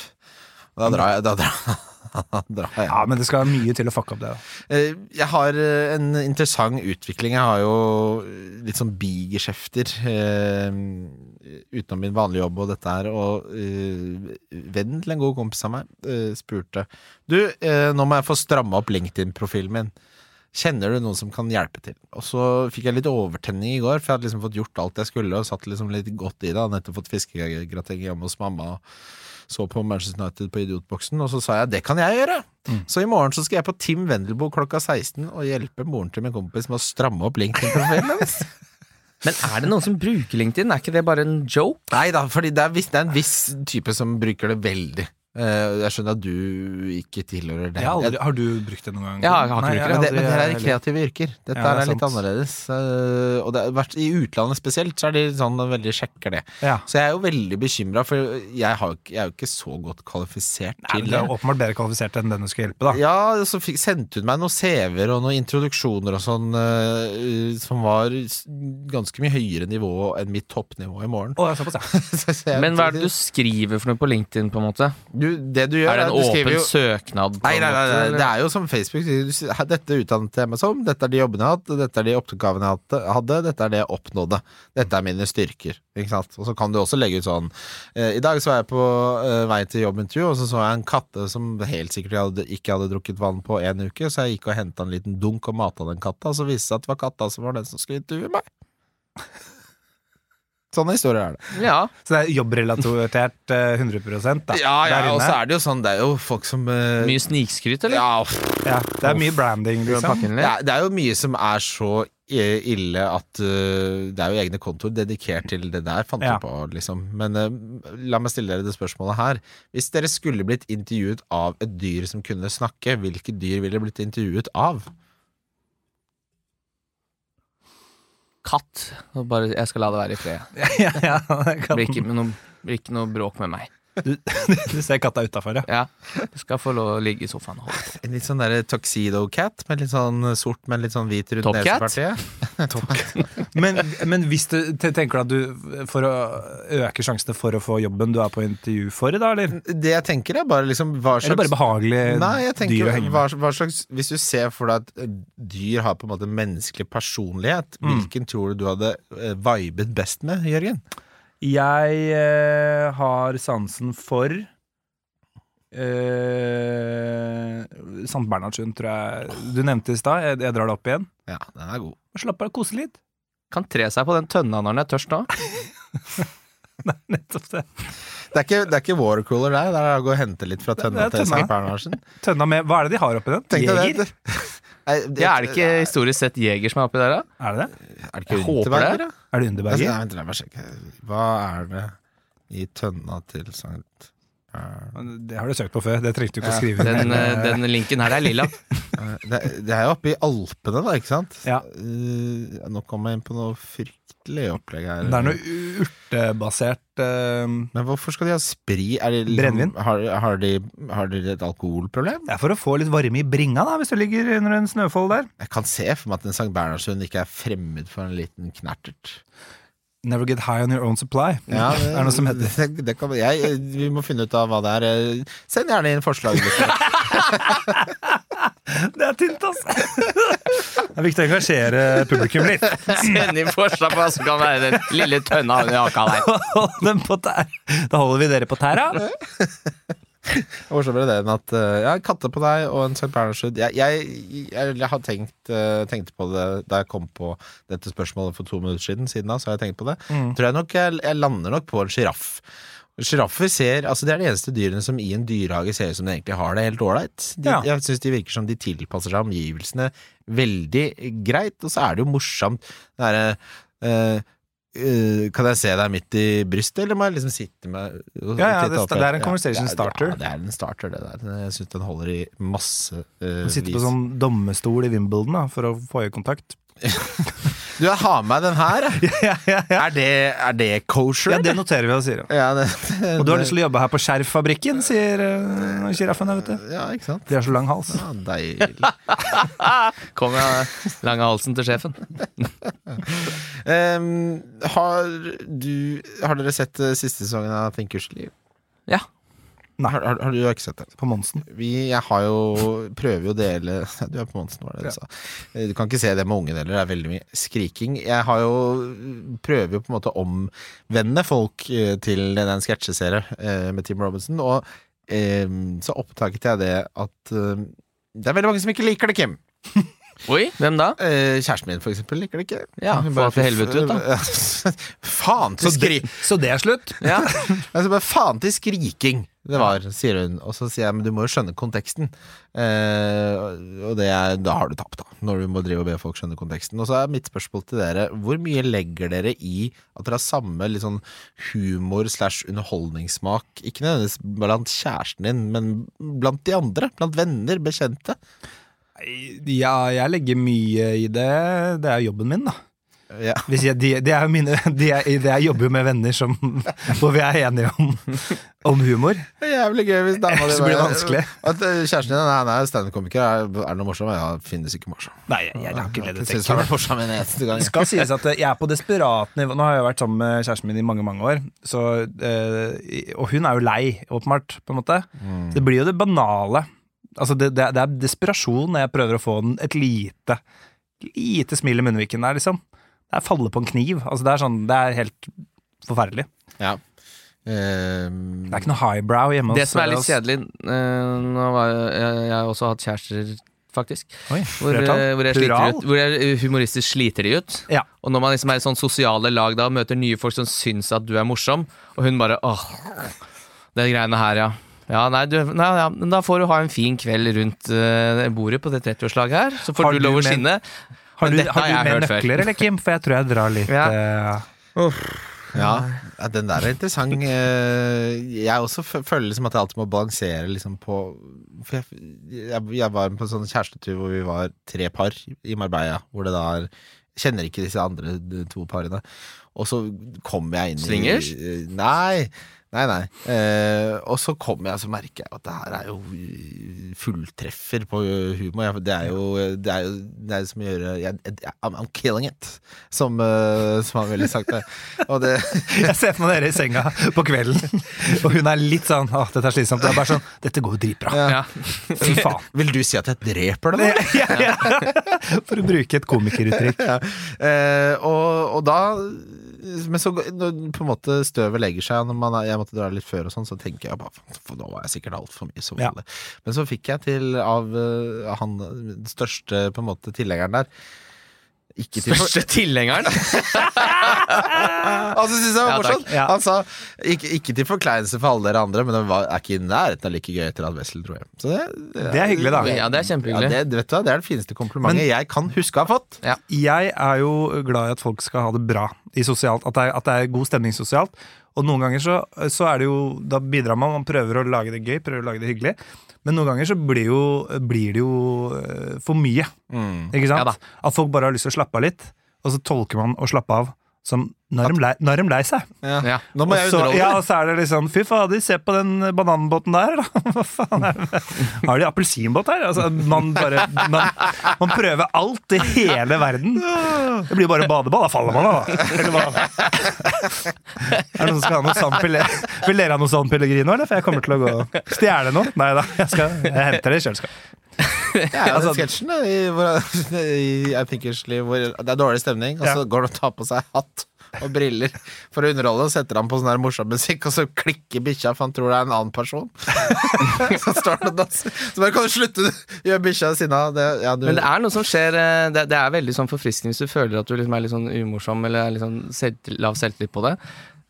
Da drar jeg. Da drar, da drar jeg. Ja, men det skal mye til å fucke opp det. Da. Eh, Jeg har eh, en interessant utvikling. Jeg har jo litt sånn bigeskjefter eh, utenom min vanlige jobb og dette her. Og eh, vennen til en god kompis av meg eh, spurte Du, eh, nå må jeg få stramma opp LinkedIn-profilen min. Kjenner du noen som kan hjelpe til? Og så fikk jeg litt overtenning i går, for jeg hadde liksom fått gjort alt jeg skulle, og satt liksom litt godt i det. Hadde nettopp fått fiskegrateng hjemme hos mamma, og så på Manchester United på idiotboksen, og så sa jeg det kan jeg gjøre! Mm. Så i morgen så skal jeg på Tim Wendelboe klokka 16 og hjelpe moren til min kompis med å stramme opp LinkedIn-profilen hennes. Men er det noen som bruker LinkedIn? Er ikke det bare en joke? Nei da, fordi det er, viss, det er en viss type som bruker det veldig. Eh, jeg skjønner at du ikke tilhører den. har du brukt det noen gang? Jeg har- jeg har men ikke brukt det, Altså, men det er kreative yrker. Dette Ja, det er er, litt sant. annerledes. Eh, og det er, vært- I utlandet spesielt så er de sånn veldig sjekker det. Ja. Så jeg er jo veldig bekymra, for jeg, har, jo ikke- jeg er jo ikke så godt kvalifisert Nei, til men det er åpenbart bedre kvalifisert enn den du skal hjelpe, da. Ja, så fikk, sendte hun meg noen CV-er og noen introduksjoner og sånn, eh, som var s- ganske mye høyere nivå enn mitt toppnivå i morgen. Å, det er såpass, ja. Så jeg- Men hva er det du skriver for noe på LinkedIn, på en måte? du Det du gjør, Er det en at du skriver åpen jo søknad? På Nei, nei, en nei, måte, nei, eller? det er jo som Facebook. sier, du sier, "Her, Dette utdannet jeg meg som, dette er de jobbene jeg har hatt, dette er de oppgavene jeg hatt- hadde, dette er det jeg oppnådde. Dette er mine styrker. Ikke sant? Og så kan du også legge ut sånn eh, I dag så var jeg på eh, vei til jobbintervju, og så så jeg en katte som helt sikkert jeg hadde, ikke hadde drukket vann på en uke, så jeg gikk og henta en liten dunk og mata den katta, og så viste det seg at det var katta som var den som skulle intervjue meg. Sånne historier er det. Ja. Så det er jobbrelatert eh, 100 da. der og inne. så er det jo sånn, det er jo folk som eh, Mye snikskryt, eller? ja, Ja, det er mye branding, Prøver å liksom. pakke den Det litt. er, det er jo mye som er så eh, ille at eh, det er jo egne kontoer dedikert til det der, fant du Ja. på, liksom. Men eh, la meg stille dere det spørsmålet her. Hvis dere skulle blitt intervjuet av et dyr som kunne snakke, hvilke dyr ville blitt intervjuet av? Katt. Og bare, jeg skal la det være i fred. ja, ja, det Det kan- blir ikke med noe, blir ikke noe bråk med meg. du, du ser katta utafor, ja. Ja, jeg skal få lov å ligge i sofaen og holde på. En litt sånn derre tuxedo cat, med litt sånn sort, men litt sånn hvit rundt Top cat? nesepartiet. Men, men hvis du te- tenker at du For å øke sjansene for å få jobben du er på intervju for, da, eller? Det jeg tenker, er bare liksom hva Eller slags bare behagelig Nei, jeg Eh, dyr tenker å henge med? hva, hva slags, Hvis du ser for deg at eh, dyr har på en måte menneskelig personlighet, Mm. hvilken tror du du hadde eh, vibet best med, Jørgen? Jeg eh, har sansen for eh, Sankt Bernhardshund, tror jeg du nevnte i stad. Jeg, jeg drar det opp igjen. Ja, den er god. Slapp av, kose litt. Kan tre seg på den tønna når den er tørst nå. Nei, nettopp det. Det er ikke, det er ikke watercooler der, det er å gå og hente litt fra tønna Det er til tønna. Sankt Bernhardsen. Tønna med Hva er det de har oppi den? Tenk deg det. Nei, Ja, er det ikke historisk sett jeger som er oppi der, da? Er det det? Er det Jeg ikke håper Unterberger, det. da? Er det Jeg Underberger? skal- Altså, Nei, vent, la meg sjekke. Hva er det i tønna til Sankt Bernhardsen? Det har du søkt på før, det trengte du ikke å skrive. Den, eh, den linken her, det er lilla. Det, det er jo oppe i Alpene, da, ikke sant? Ja. Eh, nå kom jeg inn på noe fryktelig opplegg her. Det er noe urtebasert eh, Men hvorfor skal de ha sprit? Er det liksom, Brennevin. Har, har, de, har de et alkoholproblem? Det er for å få litt varme i bringa, da, hvis du ligger under en snøfold der. Jeg kan se for meg at en Sankt Bernhardshund ikke er fremmed for en liten knertert. Never get high on your own supply. det, er noe som heter det, det kan, jeg, Eh, Vi må finne ut av hva det er. Send gjerne inn forslag. Hvis Det er tynt, ass! Det er viktig å engasjere publikum litt. Send inn forslag på hva som kan være den lille tønna under haka der. Hold dem på tær. Da holder vi dere på tæra. Morsommere det enn at eh, jeg har katter på deg og en St. Bernhardshund. Jeg, jeg, jeg, jeg har tenkt, eh, tenkte på det da jeg kom på dette spørsmålet for to minutter siden. Siden da så har jeg tenkt på det. Mm. Tror jeg nok jeg, jeg lander nok på en sjiraff. Sjiraffer ser Altså, det er de eneste dyrene som i en dyrehage ser ut som de egentlig har det helt ålreit. De- Ja. Jeg syns de virker som de tilpasser seg omgivelsene veldig greit, og så er det jo morsomt det derre eh, eh, kan jeg se deg midt i brystet, eller må jeg liksom sitte med og Ja, ja, titte det- opp? det er en Ja, conversation det er- starter. Ja, det er en starter, det der. Jeg syns den holder i masse eh, Du sitter på vis. sånn dommestol i Wimbledon da, for å få øyekontakt. Du, jeg har med den her. jeg. Ja, ja, ja. Er det, er det kosher? ja, det noterer vi og sier. Ja, det, Og du har lyst til å jobbe her på Skjerffabrikken, sier sjiraffen. Uh, Ja, ikke sant? de har så lang hals. Ja, deilig. Kom med lange halsen til sjefen. Ehm, har, du, har dere sett eh, siste sesongen av Think Usely? Ja. Nei, har, har, har du har ikke sett det? På Monsen. Vi, jeg har jo prøver jo å dele Du er på Monsen, var det du sa. Eh, Du kan ikke se det med ungen heller, det er veldig mye skriking. Jeg har jo prøver jo på en måte å omvende folk eh, til den sketsjeserien eh, med Tim Robinson, og eh, så oppdaget jeg det at eh, det er veldig mange som ikke liker det, Kim. Oi, hvem da? Eh, Kjæresten min, for eksempel, liker det ikke. Ja, Hun få bare, til helvete ut, da. Faen til skri... Så det er slutt? Ja. Altså bare faen til skriking det var, sier hun. Og så sier jeg, men du må jo skjønne konteksten. Eh, og det er, da har du tapt, da. Når du må drive og be folk skjønne konteksten. Og så er mitt spørsmål til dere, hvor mye legger dere i at dere har samme litt sånn humor slash underholdningssmak, ikke nødvendigvis blant kjæresten din, men blant de andre? Blant venner, bekjente? Ja, jeg legger mye i det. Det er jobben min, da. Ja. Hvis jeg, de, de er jo mine, de er, de jeg jobber jo med venner som, hvor vi er enige om, om humor. Det er jævlig gøy hvis dama Ellers blir det vanskelig. At eh, kjæresten din nei, nei, er standup-komiker, er, er det noe morsomt? Ja, finnes ikke morsom. Nei, jeg, jeg har ikke Jeg ledd synes han er morsom en eneste gang. Det skal sies at jeg er på desperat nivå. Nå har jeg vært sammen med kjæresten min i mange mange år, så, eh, i- og hun er jo lei, åpenbart. på en måte. Mm. Så det blir jo det banale. Altså, det, det, er- det er desperasjon når jeg prøver å få den et lite lite smil i munnviken der, liksom. Det er falle på en kniv. Altså, det er sånn, det er helt forferdelig. Ja. Eh, Det er ikke noe highbrow hjemme Det som er litt oss. kjedelig eh, Nå var jeg, jeg, jeg har også hatt kjærester, faktisk. Oi, Hvor, flertall. eh, hvor, jeg Plural. sliter ut, hvor jeg eh, humoristisk sliter de ut. Ja. Og når man liksom er i sånn sosiale lag da og møter nye folk som syns at du er morsom, og hun bare åh, det greiene her, ja. Ja, nei, du, nei, ja, men Da får du ha en fin kveld rundt eh, bordet på det 30-årslaget her. Så får Har du du lov å men- skinne. Har Men du, dette har har du jeg med hørt før. nøkler, eller, Kim? For jeg tror jeg drar litt Ja. eh, ja. ja, den der er interessant. Eh, jeg også f- føler liksom at jeg alltid må balansere liksom på For jeg, jeg, jeg var på en sånn kjærestetur hvor vi var tre par i Marbella, hvor det da er Kjenner ikke disse andre d- to parene. Og så kommer jeg inn Swingers? i Nei. Nei, nei. Eh, og så kommer jeg, så merker jeg at det her er jo eh, fulltreffer på humor. Jeg- Det er jo, det er jo, det er jo som å gjøre jeg, jeg, I'm, I'm killing it, som, eh, som han ville sagt det. Og det Jeg ser for meg dere i senga på kvelden, og hun er litt sånn Åh, dette er slitsomt. Det er bare sånn Dette går jo dritbra. Ja. Fy faen. Vil du si at jeg dreper dem? eller? Ja, ja. For å bruke et komikeruttrykk. Ja. Eh, og, og da Men så når på en måte støvet legger seg Når man er, jeg måtte dra litt før og sånn Så tenker jeg bare For da var jeg sikkert alt for mye så Ja. voldelig. Men så fikk jeg til av eh, han den største på en måte tilleggeren der Ikke til for- Første tilhengeren. Altså synes jeg var Ja, takk. morsomt Ja. Han sa ikke, ikke til forkleinelse for alle dere andre Men det var, er ikke i nærheten av like gøy etter at Vessel dro hjem Så det, Det er hyggelig, da. Ja, det er ja, kjempehyggelig. det, vet du, hva, det er det fineste komplimentet jeg kan huske å ha fått Jeg er jo glad i at folk skal ha det bra i sosialt, at det er, at det er god stemning sosialt. Og noen ganger så, så er det jo Da bidrar man, man prøver å lage det gøy, prøver å lage det hyggelig. Men noen ganger så blir, jo, blir det jo eh, for mye. Ikke Ja sant? da. at folk bare har lyst til å slappe av litt, og så tolker man å slappe av som Nå er de lei- nå er de lei seg. Ja. Nå må jeg Og så, underholde ja, og så er det liksom Fy fader, se på den bananbåten der, da. Hva faen er det? Har de appelsinbåt her? Altså, man bare man, man prøver alt i hele verden. Det blir bare badeball. Da faller man av, da. Eller hva? Er det noen som skal ha noe San Pelle- Vil dere ha sånn noe San Pellegrino, eller? For jeg kommer til å gå og stjele noe. Nei da, jeg, skal, jeg henter det i kjøleskapet. Ja, den Altså- sketsjen da, i, hvor, i I Pinkers liv hvor det er dårlig stemning, og så går han og tar på seg hatt og briller for å underholde, og setter han på sånn der morsom musikk, og så klikker bikkja, for han tror det er en annen person. så står han og danser. Så bare kan du slutte, du gjør bikkja sinna. Det, ja, du, Men det er noe som skjer eh, Det, det er veldig sånn forfriskende hvis du føler at du liksom er litt sånn umorsom eller er litt sånn selvtil- lav selvtillit på det.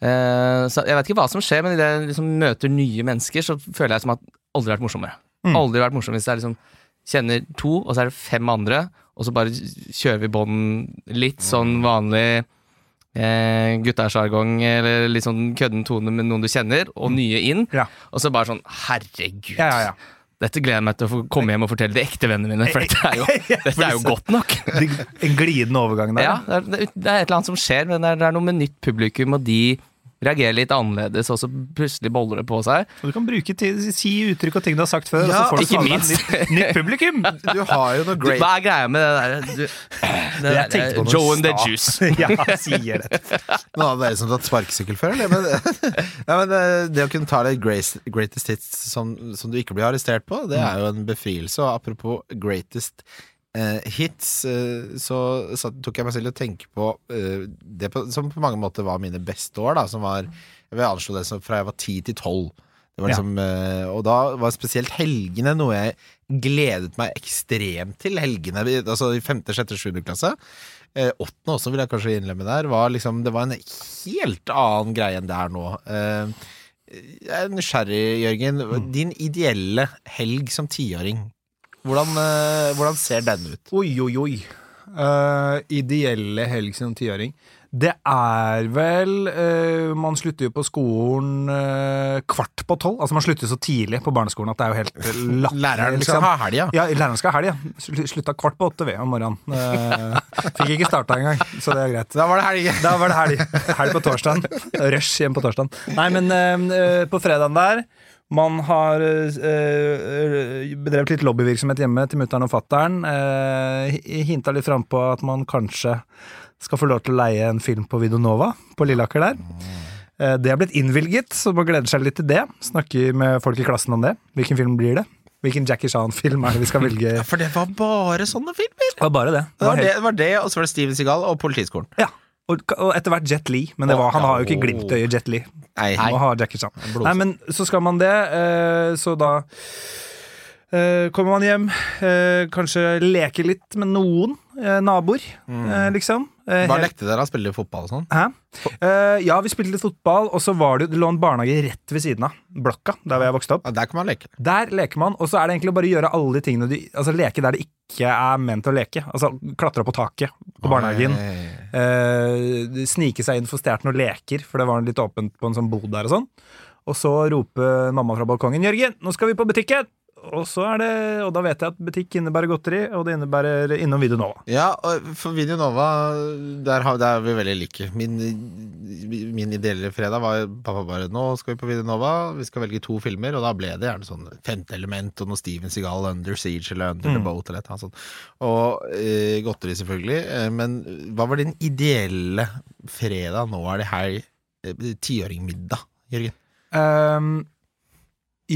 Eh, så jeg vet ikke hva som skjer, men idet jeg liksom møter nye mennesker, så føler jeg som at aldri har vært morsommere. Mm. Aldri vært morsommere hvis det er liksom kjenner to, og så er det fem andre, og så bare kjører vi bånd litt sånn vanlig eh, guttasjargong eller litt sånn kødden tone med noen du kjenner, og nye inn. Mm. Ja. Og så bare sånn Herregud. Ja, ja, ja. Dette gleder jeg meg til å få komme hjem og fortelle de ekte vennene mine, for dette er jo, dette er jo godt nok. De- En glidende overgang der. Ja, det er, det er et eller annet som skjer, men det er, det er noe med nytt publikum, og de reagerer litt annerledes, og så plutselig boller det på seg. Og du kan bruke ti- si uttrykk og ting du har sagt før. Ja, og så får du ikke faen meg minst. Nytt, nytt publikum! du har jo noe Du, great hva er greia med det der? Du, det Jeg der tenkte på noe Joe and the i Juice. ja, sier det. Noen av dere som har tatt sparkesykkel før, eller? Men, ja, men eh, det å kunne ta det greatest, greatest hits som, som du ikke blir arrestert på, det er jo en befrielse. Og apropos greatest eh, hits, eh, så, satt- tok jeg meg selv i å tenke på eh, det på, som på mange måter var mine beste år, da, som var Jeg vil anslå det som fra jeg var ti til tolv. Det var Ja. liksom, eh, Og da var spesielt helgene noe jeg gledet meg ekstremt til. Helgene, i- altså i femte, sjette, sjuende klasse. Eh, Åttende også vil jeg kanskje innlemme der. Var liksom, det var en helt annen greie enn det er nå. Eh, jeg er nysgjerrig, Jørgen. Din ideelle helg som tiåring. Hvordan, eh, hvordan ser den ut? Oi, oi, oi. Eh, ideelle helg som tiåring. Det er vel eh, Man slutter jo på skolen eh, kvart på tolv. Altså Man slutter så tidlig på barneskolen at det er jo helt latterlig. Læreren liksom. skal ha helga. Ja, læreren skal ha helg, ja. Sl- Slutta kvart på åtte ved om morgenen. Eh, fikk ikke starta engang, så det er greit. Da var det helg. Da var det helg. Helg på torsdagen. Rush hjem på torsdagen. Nei, men eh, eh, på fredagen der man har eh, eh, bedrevet litt lobbyvirksomhet hjemme til mutter'n og fatter'n. Uh, hinta litt frampå at man kanskje skal få lov til å leie en film på Videonova på Lilleaker der. Eh, det er blitt innvilget, så man gleder seg litt til det. Snakker med folk i klassen om det. Hvilken film blir det? Hvilken Jackie Chan-film er det vi skal velge? For det var bare sånne filmer! Det var bare det. Det var det, det, var det og så var det Steven Seagal og Politiskolen. Ja. Og, og etter hvert Jet Li, men det var, han har jo ikke glimt i øyet, Jet Li. Nei. Må ha Jackie Chan. Nei, men så skal man det, eh, så da eh, kommer man hjem, eh, kanskje leke litt med noen eh, naboer, eh, liksom. Eh, Hva helt- lekte dere? Han spilte fotball og sånn? Hæ? Eh, ja, vi spilte litt fotball, og så var det, jo- det lå en barnehage rett ved siden av blokka, der hvor jeg vokste opp. Ja, der kan man leke. Der leker man, og så er det egentlig bare å gjøre alle de tingene du Altså leke der det ikke er ment å leke. Altså klatre opp på taket på barnehagen. Nei. Eh, snike seg inn for stjålet noen leker, for det var litt åpent på en sånn bod der og sånn. Og så roper mamma fra balkongen 'Jørgen, nå skal vi på butikken!' Og så er det, og da vet jeg at butikk innebærer godteri, og det innebærer innom Videonova. Ja, og for Video Nova, der, har, der er vi veldig like. Min, min ideelle fredag var pappa bare Nå skal vi på Video Nova, vi skal velge to filmer, og da ble det gjerne sånn Femte element og noe Steven Seagal, Under Siege eller Under the Boat eller et eller annet sånt. Og eh, godteri, selvfølgelig. Eh, men hva var din ideelle fredag? Nå er det helg. Eh, Tiåringmiddag, Jørgen. Ehm,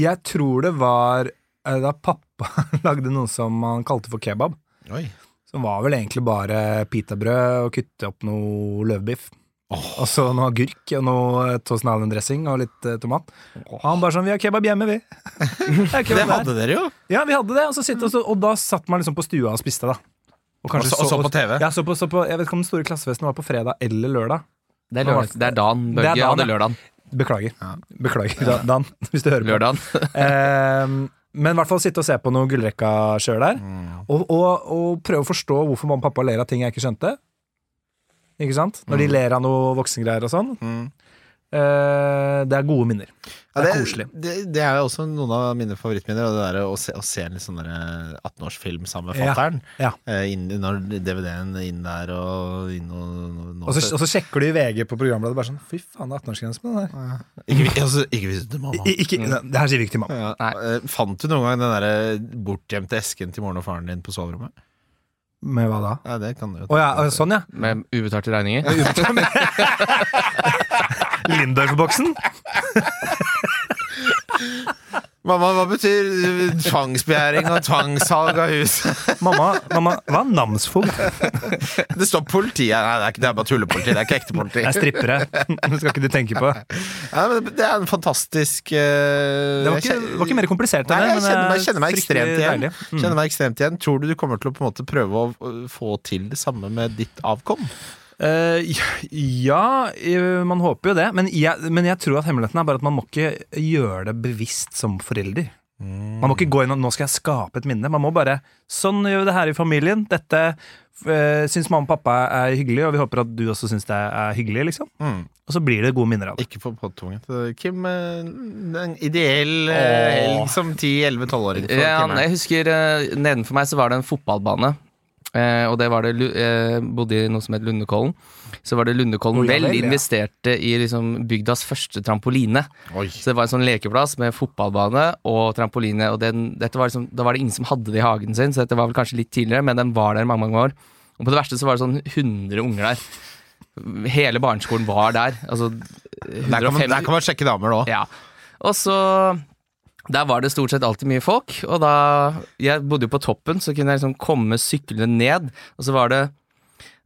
jeg tror det var eh, da pappa lagde noe som han kalte for kebab. Oi. Som var vel egentlig bare pitabrød og kutte opp noe løvbiff. Og så noe agurk og noe eh, Thousand Island-dressing og litt eh, tomat. Og han bare sånn 'Vi har kebab hjemme, vi'. Det er Det kebab her. hadde dere jo! Ja, vi hadde det. Og, så sitte, og, så, og da satt man liksom på stua og spiste, da. kanskje Og så- og så på TV. Ja, så på, så på, jeg vet ikke om den store klassefesten var på fredag eller lørdag. Det er, lørdag, det er Dan Det er Børge. Ja, Dan, det er ja. lørdagen. Beklager. Beklager, Da- Dan, hvis du hører på. lørdagen. Ehm, men i hvert fall sitte og se på noe gullrekka sjøl der. Mm. Og, og, og prøve å forstå hvorfor mamma og pappa ler av ting jeg ikke skjønte. Ikke sant? Når Mm. de ler av noe voksengreier og sånn. Eh, det er gode minner. Ja, det er koselig. Det, det er jo også noen av mine favorittminner. Og det der, å, se, å se en litt sånn der, eh, 18-årsfilm sammen med Ja, fatter'n. ja. Eh, inn- Når DVD-en inn der og inn og, og, Og så, og så sjekker du i VG på programbladet bare sånn Fy faen, det er 18-årsgrense på den der. Ikke, vi- altså, ikke vis det til mamma. I, ikke, det her sier vi ikke til mamma. Ja, Nei. eh, fant du noen gang den der bortgjemte esken til moren og faren din på soverommet? Men hva da? Ja, det kan du jo. Å ja, å, sånn ja. Med ubetalte regninger. Lindorf-boksen. Mamma, hva betyr eh, tvangsbegjæring og tvangssalg av hus? Mamma, mamma hva er namsfogd? Det står politi her. Nei, det er, ikke, det er bare tullepoliti. Det er ikke ekte politi. Jeg er strippere. Det skal ikke du tenke på. Ja, men det er en fantastisk eh, Det var ikke, jeg kjen- var ikke mer komplisert Nei, enn det. jeg men kjenner meg, eh, det er kjenner meg ekstremt fryktelig igjen. deilig. Mm. Kjenner meg ekstremt igjen. Tror du du kommer til å på en måte prøve å eh, få til det samme med ditt avkom? Eh, ja, eh, man håper jo det. Men jeg, men jeg tror at hemmeligheten er bare at man må ikke gjøre det bevisst som forelder. Man må ikke gå inn og 'nå skal jeg skape et minne'. Man må bare 'sånn gjør vi det her i familien'. Dette uh, syns mamma og pappa er hyggelig, og vi håper at du også syns det er hyggelig, liksom. Mm. Og så blir det gode minner av det. Ikke på podtungen til Kim. eh, En ideell eh, Åh. helg som 10-11-12-åring. for Ja, Kim nei, her. jeg husker eh, Nedenfor meg så var det en fotballbane. Eh, og det var det Lu- eh, bodde i noe som het Lundekollen. Så var det Lundekollen Å, ja vel vel, ja. investerte i liksom bygdas første trampoline. Oi. Så det var en sånn lekeplass med fotballbane og trampoline. Og den, dette var liksom, da var det ingen som hadde det i hagen sin, så dette var vel kanskje litt tidligere, men den var der i mange, mange år. Og på det verste så var det sånn 100 unger der. Hele barneskolen var der. Altså Der kan, man, 105 der kan man sjekke damer nå. ja. Og så Der var det stort sett alltid mye folk, og da Jeg bodde jo på toppen, så kunne jeg liksom komme syklende ned, og så var det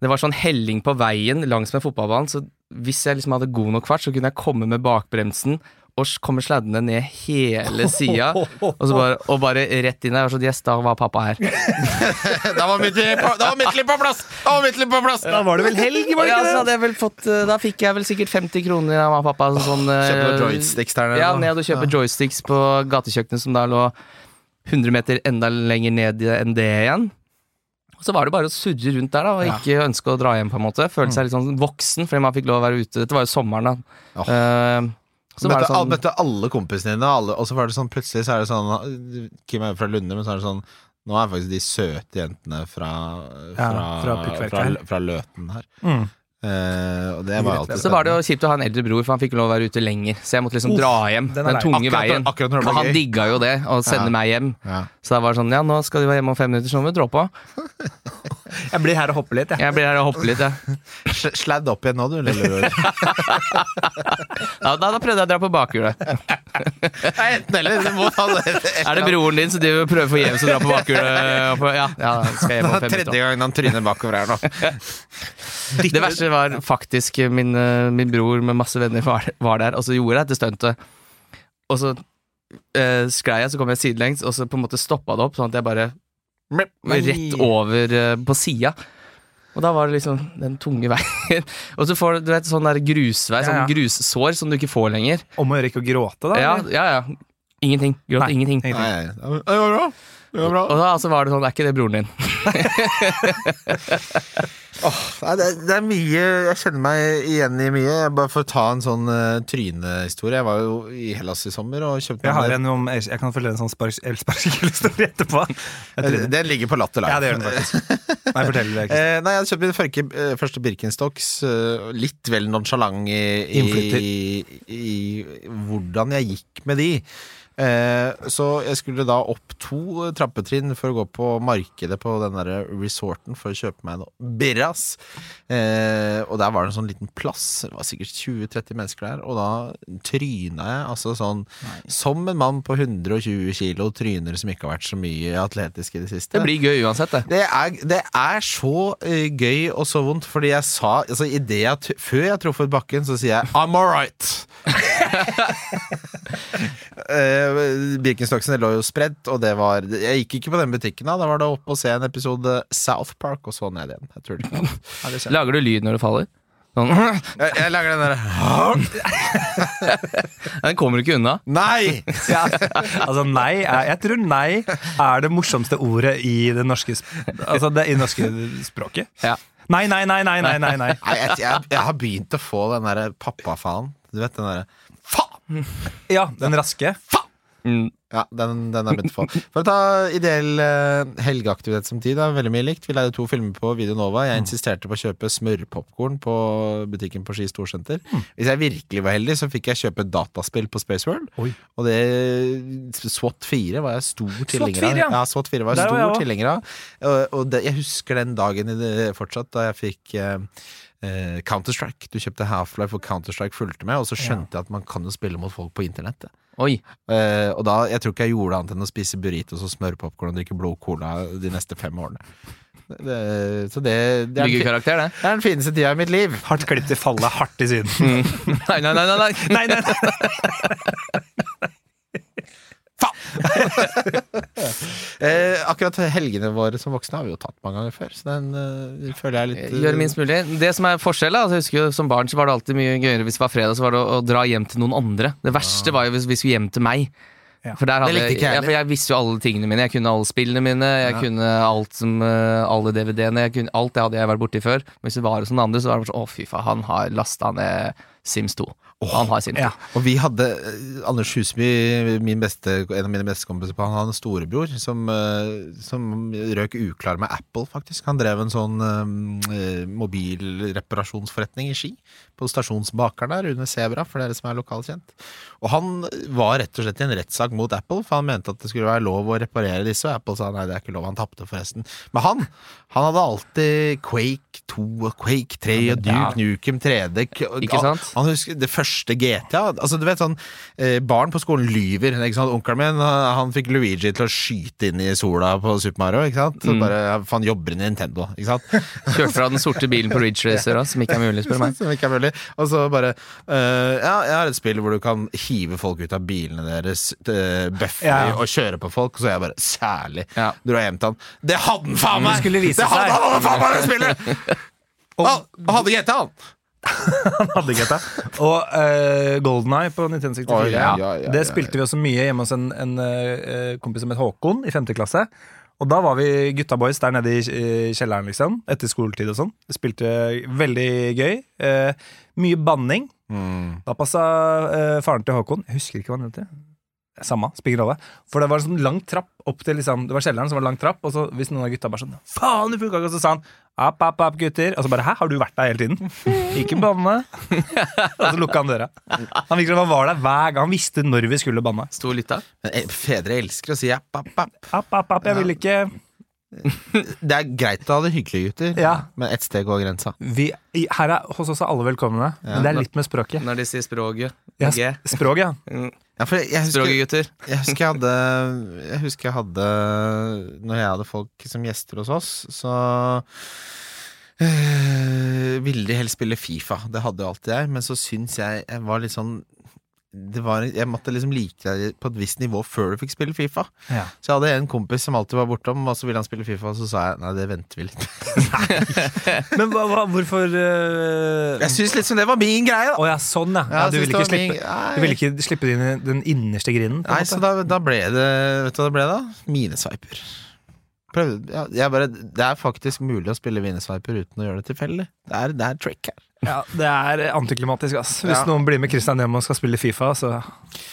Det var sånn helling på veien langs med fotballbanen, så hvis jeg liksom hadde god nok fart, så kunne jeg komme med bakbremsen. Og s- komme sladdende ned hele sida, og, så bare- og bare rett inn der. Og så yes, da var pappa her. Da var mitt liv på, da var mitt liv på plass! Da var mitt liv på plass! Da var det vel helg, var det Ja, så ikke det? hadde jeg vel fått, eh, da fikk jeg vel sikkert 50 kroner av mamma og pappa. Sånn, Kjøper eh, noen joysticks der nede. Ja, da. ned og kjøpe joysticks på gatekjøkkenet som da lå 100 meter enda lenger ned enn det igjen. Og så var det bare å surre rundt der da, og ikke ønske å dra hjem. på en måte Føle Mm. seg litt sånn voksen fordi man fikk lov å være ute. Dette var jo sommeren, da. Åh. Eh, så møtte, var det sånn al- møtte alle kompisene dine, alle, og så var det sånn plutselig så er det sånn Kim er jo fra Lunde, men så er det sånn Nå er faktisk de søte jentene fra Fra, Ja, fra fra, Pukkverket fra, her. Løten her. Mm. Eh, og det var jo alltid Så var det jo kjipt å ha en eldre bror, for han fikk lov å være ute lenger. Så jeg måtte liksom Uff, dra hjem den den, er lei. tunge Akkurat- veien. akkurat når det var han gøy. digga jo det, å Ja. sende meg hjem. ja. Så det var sånn, ja, nå skal du være hjemme om fem minutter, så må vi dra på. Jeg blir her og hopper litt, jeg. Jeg blir her og hopper litt, jeg. Sl- Sladd opp igjen nå, du, lillebror. Ja, da, da prøvde jeg å dra på bakhjulet. Nei, enten eller. Du må ta det. Er det broren din som driver og prøver forgjeves å dra på bakhjulet? På- Ja, ja, skal jeg hjem om fem Tredje minutter. gangen han tryner bakover her nå. Det verste var faktisk min, eh, min bror med masse venner var, var der, og så gjorde jeg dette stuntet. Og så eh, sklei jeg, så kom jeg sidelengs, og så på en måte stoppa det opp, sånn at jeg bare rett over eh, på sida. Og da var det liksom den tunge veien. Og så får du du vet, sånn der grusvei, Ja, ja. sånn grussår som du ikke får lenger. Om å gjøre ikke å gråte, da. Ja, eller? ja, ja. Ingenting. Gråt Nei, ingenting. Nei, ingenting. nei, nei. det var bra. Det var bra. Og da altså, var det sånn, er ikke det broren din? Nei, det, det er mye Jeg kjenner meg igjen i mye. Jeg Bare for å ta en sånn eh, trynehistorie. Jeg var jo i Hellas i sommer og kjøpte Jeg, meg- har en om, jeg kan fortelle en sånn spark- elsparkesykkelhistorie etterpå. Jeg tror det. Eh, Den ligger på Latter Live. Ja, det gjør den faktisk. Nei, fortell det. Kristian. Eh, nei, jeg hadde kjøpt min første, eh, første Birkenstocks. Eh, litt vel nonsjalant i, Innflytter. i, i, i hvordan jeg gikk med de. Eh, så jeg skulle da opp to eh, trappetrinn for å gå på markedet på den der resorten for å kjøpe meg noe birras. Eh, og der var det en sånn liten plass. Det var sikkert 20-30 mennesker der. Og da tryna jeg altså sånn som en mann på 120 kilo tryner som ikke har vært så mye atletisk i det siste. Det blir gøy uansett, det. Det er, det er så eh, gøy og så vondt, fordi jeg sa altså, i det jeg, t- Før jeg truffet bakken, så sier jeg 'I'm alright'. uh, Birkenstocksen lå jo spredt, og det var Jeg gikk ikke på den butikken da. Da var det opp og se en episode South Park, og så ned igjen. Jeg tror det ikke. Lager du lyd når du faller? Sånn. Jeg, jeg lager den derre Den kommer du ikke unna. Nei! Ja, altså nei, er, Jeg tror nei er det morsomste ordet i det norske, sp- altså det, i det norske språket. Ja. Nei, nei, nei, nei, nei, nei, nei. Nei, jeg, jeg, jeg har begynt å få den derre pappafaen. Du vet den derre Faen! Ja, den raske. Mm. Ja, den, den er begynt å få. For å ta ideell eh, helgeaktivitet som tid, da, veldig mye likt. Vi leide to filmer på Video Nova. Mm. Jeg insisterte på å kjøpe smørpopkorn på butikken på Ski Storsenter. Mm. Hvis jeg virkelig var heldig, så fikk jeg kjøpe dataspill på Space World. Oi. Og det SWAT 4 var jeg stor tilhenger 4, av. ja. Ja, SWAT 4 var Der jeg var stor jeg også. tilhenger av. Og, og det, jeg husker den dagen i det fortsatt, da jeg fikk eh, eh, Counter-Strike. Du kjøpte Half-Life og Counter-Strike fulgte med, og så skjønte jeg at man kan jo spille mot folk på internettet. Oi. Eh, og da, jeg tror ikke jeg gjorde annet enn å spise burritos og smørpopkorn og drikke blå cola de neste fem årene. Det, så det, det, er, den fi- Byggekarakter, det. det er den fineste tida i mitt liv. Hardt klipp til fallet, hardt i siden. Nei, nei, nei. nei, nei. Nei, nei, nei. Eh, akkurat helgene våre som voksne har vi jo tatt mange ganger før, så den eh, føler jeg er litt Gjøre minst mulig. Det som er forskjellen, altså, jeg husker jo Som barn så var det alltid mye gøyere hvis det var fredag, så var det å, å dra hjem til noen andre. Det verste var jo hvis vi skulle hjem til meg. Ja. For, der hadde, Det likte jeg, ikke jeg ja, for jeg visste jo alle tingene mine. Jeg kunne alle spillene mine, jeg kunne alt som, eh, alle DVD-ene. Jeg kunne, alt det hadde jeg vært borti før. Men hvis det var hos noen andre, så var det bare sånn Å, fy faen, han har lasta ned Sims 2. han har Sims 2. ja. Og vi hadde eh, Anders Husby, min beste, en av mine beste kompiser på Han hadde en storebror som, eh, som røk uklar med Apple, faktisk. Han drev en sånn eh, mobilreparasjonsforretning i Ski, på stasjonsbakeren der, under Sebra, for dere som er lokalkjent. Og han var rett og slett i en rettssak mot Apple, for han mente at det skulle være lov å reparere disse, og Apple sa nei, det er ikke lov. Han tapte, forresten. Men han, han hadde alltid Quake 2 og Quake 3 og Duke Nukem 3D. k- Ikke sant? han husker det første GTA. Altså du vet sånn eh, Barn på skolen lyver. Ikke sant? Onkelen min han han fikk Luigi til å skyte inn i sola på Super Mario. Ikke sant? Så bare, ja, faen, jobber i Nintendo, ikke sant? Kjørte fra den sorte bilen på Ridge Racer, da, som ikke er mulig, spør du meg. Som ikke er mulig. Og så bare eh, Ja, jeg har et spill hvor du kan hive folk ut av bilene deres, uh, bøffe Ja. og kjøre på folk, så jeg bare Særlig. Ja. Dro jeg hjem til han. Det hadde han faen meg! Det skulle vise det hadde seg. han, hadde faen meg det spillet! Og, Han han hadde GTA, han! hadde ikke dette. og eh, Golden Eye på 1964. Oi, ja, ja, ja, det ja, spilte vi også mye hjemme hos en, en eh, kompis som het Håkon, i 5. klasse. Og da var vi gutta boys der nede i eh, kjelleren, liksom. Etter skoletid og sånn. Det Spilte veldig gøy. Eh, mye banning. Mm. Da passa eh, faren til Håkon Jeg husker ikke hva han het. Samme, spiller ingen rolle. For det var en sånn lang trapp opp til liksom, Det var kjelleren som var en lang trapp, og så hvis noen av gutta bare sånn Faen, du funka ikke! Og så sa han app, app, app, gutter. Og så bare Hæ, har du vært der hele tiden? Ikke banne. og så lukka han døra. Han virker som han var der hver gang. Han visste når vi skulle banne. Sto og lytta. Men, eh, Fedre elsker å si app, app, app. App, app, app, jeg vil ikke Det er greit å ha det hyggelig, gutter, Ja. men ett sted går grensa. vi, i- Her er hos oss er alle velkomne, men det er litt med språket. Når de sier språket. Ja, G. Mm. sp- språk, ja. Ja, for jeg, husker, Språket, gutter. jeg husker jeg hadde Jeg husker jeg hadde Når jeg hadde folk som gjester hos oss, så øh, ville de helst spille Fifa. Det hadde jo alltid jeg, men så syns jeg jeg var litt sånn det var, jeg måtte liksom like deg på et visst nivå før du fikk spille Fifa. Ja. Så jeg hadde en kompis som alltid var bortom, og så ville han spille Fifa, og så sa jeg nei, det venter vi litt. Men hva, hva, hvorfor eh, Jeg syns liksom det var min greie, Å da. ja, sånn, ja. ja jeg synes du ville det var min- ikke slippe Nei. Du ville ikke slippe det inn i den innerste grinden? på en Nei, måte. så da, da ble det Vet du hva det ble da? Minesveiper. Prøvde, ja, jeg bare, det er faktisk mulig å spille minesveiper uten å gjøre det tilfeldig. Det er, det er trick her. Ja, Det er eh, antiklimatisk. ass Hvis Ja. noen blir med Christian hjem og skal spille Fifa, så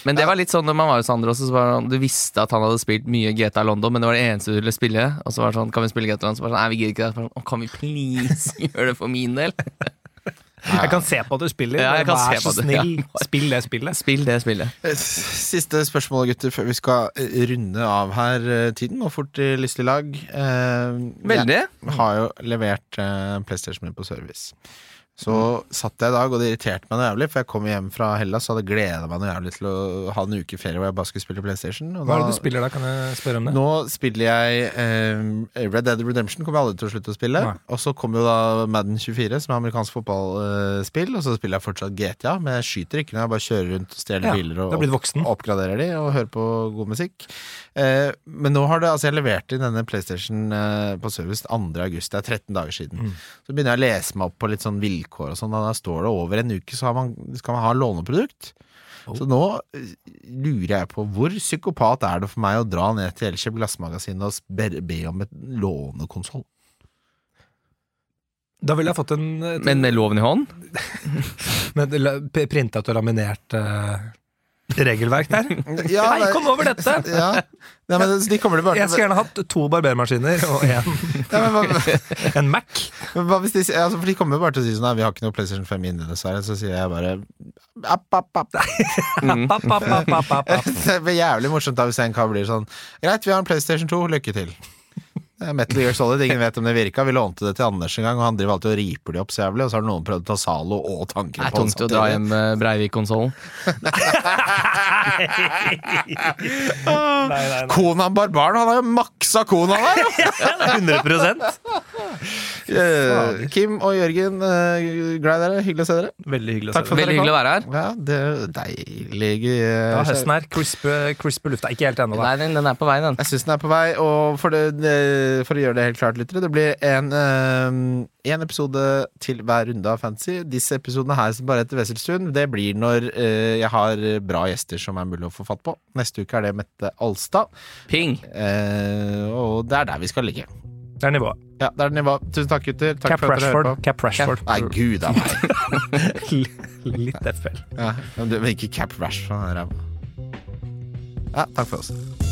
Men det var litt sånn når man var hos andre også, så var det, sånn- du visste at han hadde spilt mye GTA London, men det var det eneste du ville spille. Og så var det sånn, kan vi spille GTA London? Så var det sånn, nei, vi gidder ikke det. Så var det Sånn, «Å, kan vi please gjøre det for min del? Jeg kan se på at du spiller. Ja, jeg kan Vær se så på det, snill, ja. spill det spillet. Spill det spillet. Eh, Siste spørsmål, gutter, før vi skal eh, runde av her. eh, Tiden går fort i lystig lag. Eh, Veldig. Jeg har jo levert eh, PlayStation min på service. Så satt jeg i dag, og det irriterte meg noe jævlig, for jeg kom hjem fra Hellas og hadde gleda meg noe jævlig til å ha en uke ferie hvor jeg bare skulle spille PlayStation. Og Hva er da- det du spiller da? Kan jeg spørre om det? Nå spiller jeg eh, Red Dead Redemption kommer jeg aldri til å slutte å spille. Nei. Og så kommer jo da Madden 24, som er amerikansk fotballspill. og så spiller jeg fortsatt GTA, men jeg skyter ikke når jeg bare kjører rundt og stjeler Ja, biler og du er blitt voksen. opp- oppgraderer de og hører på god musikk. Eh, men nå har det, altså jeg leverte inn denne PlayStation eh, på service 2. august, det er 13 dager siden. Mm. Så begynner jeg å lese meg opp på litt sånn vilkår og sånn, og da står det over en uke så har man, skal man ha låneprodukt. Oh. Så nå eh, lurer jeg på hvor psykopat er det for meg å dra ned til Elkjøp Glassmagasin og be, be om et lånekonsoll? Da ville jeg fått en eh, Men med loven i hånd. med et la- p- printet og laminert eh, regelverk der. Ja, Hei, det- kom over dette! Ja. Nei, men de kommer tilbake Jeg skulle gjerne hatt to barbermaskiner og en, ja, men, hva- en Mac. Men Hva hvis de, sier- altså, for de kommer jo bare til å si sånn Nei, vi har ikke noe PlayStation 5 inne, dessverre. Så sier jeg bare app, app, app. App, app, app, app, app, app. Det blir jævlig morsomt da hvis en kar blir sånn Greit, vi har en PlayStation 2, lykke til. Det er Metal Gear Solid, ingen vet om det virka. Vi lånte det til Anders en gang, og han driver alltid og riper de opp så jævlig, og så har noen prøvd å ta Zalo og Det tankene er på tungt å dra hjem med Breivik-konsollen. Nei, nei, nei. Konan Barbaren, han har jo maksa kona der! jo. 100 Eh, Kim og Jørgen, eh, glad i dere. Hyggelig å se dere. Veldig hyggelig å Takk se for deg. Veldig hyggelig å være her. Ja, det er deilig eh, Ja, høsten her. Crispe, crispe lufta. Ikke helt ennå, da. Nei, den, den er på vei, den. Jeg syns den er på vei, og for, det, det- for å gjøre det helt klart, lyttere, det blir en, eh, en episode til hver runde av Fantasy. Disse episodene her som bare heter Wesselstuen, det blir når eh, jeg har bra gjester som er mulig å få fatt på. Neste uke er det Mette Alstad, Ping! eh, og det er der vi skal ligge. Det er nivået. Ja, det er nivå. Tusen takk, gutter. Takk Cap for at dere hører Rashford. på. Cap Rashford. Nei, gud a meg. Litt FL. Ja, men du- men ikke Cap Rashford. han er ræva. Ja, takk for oss.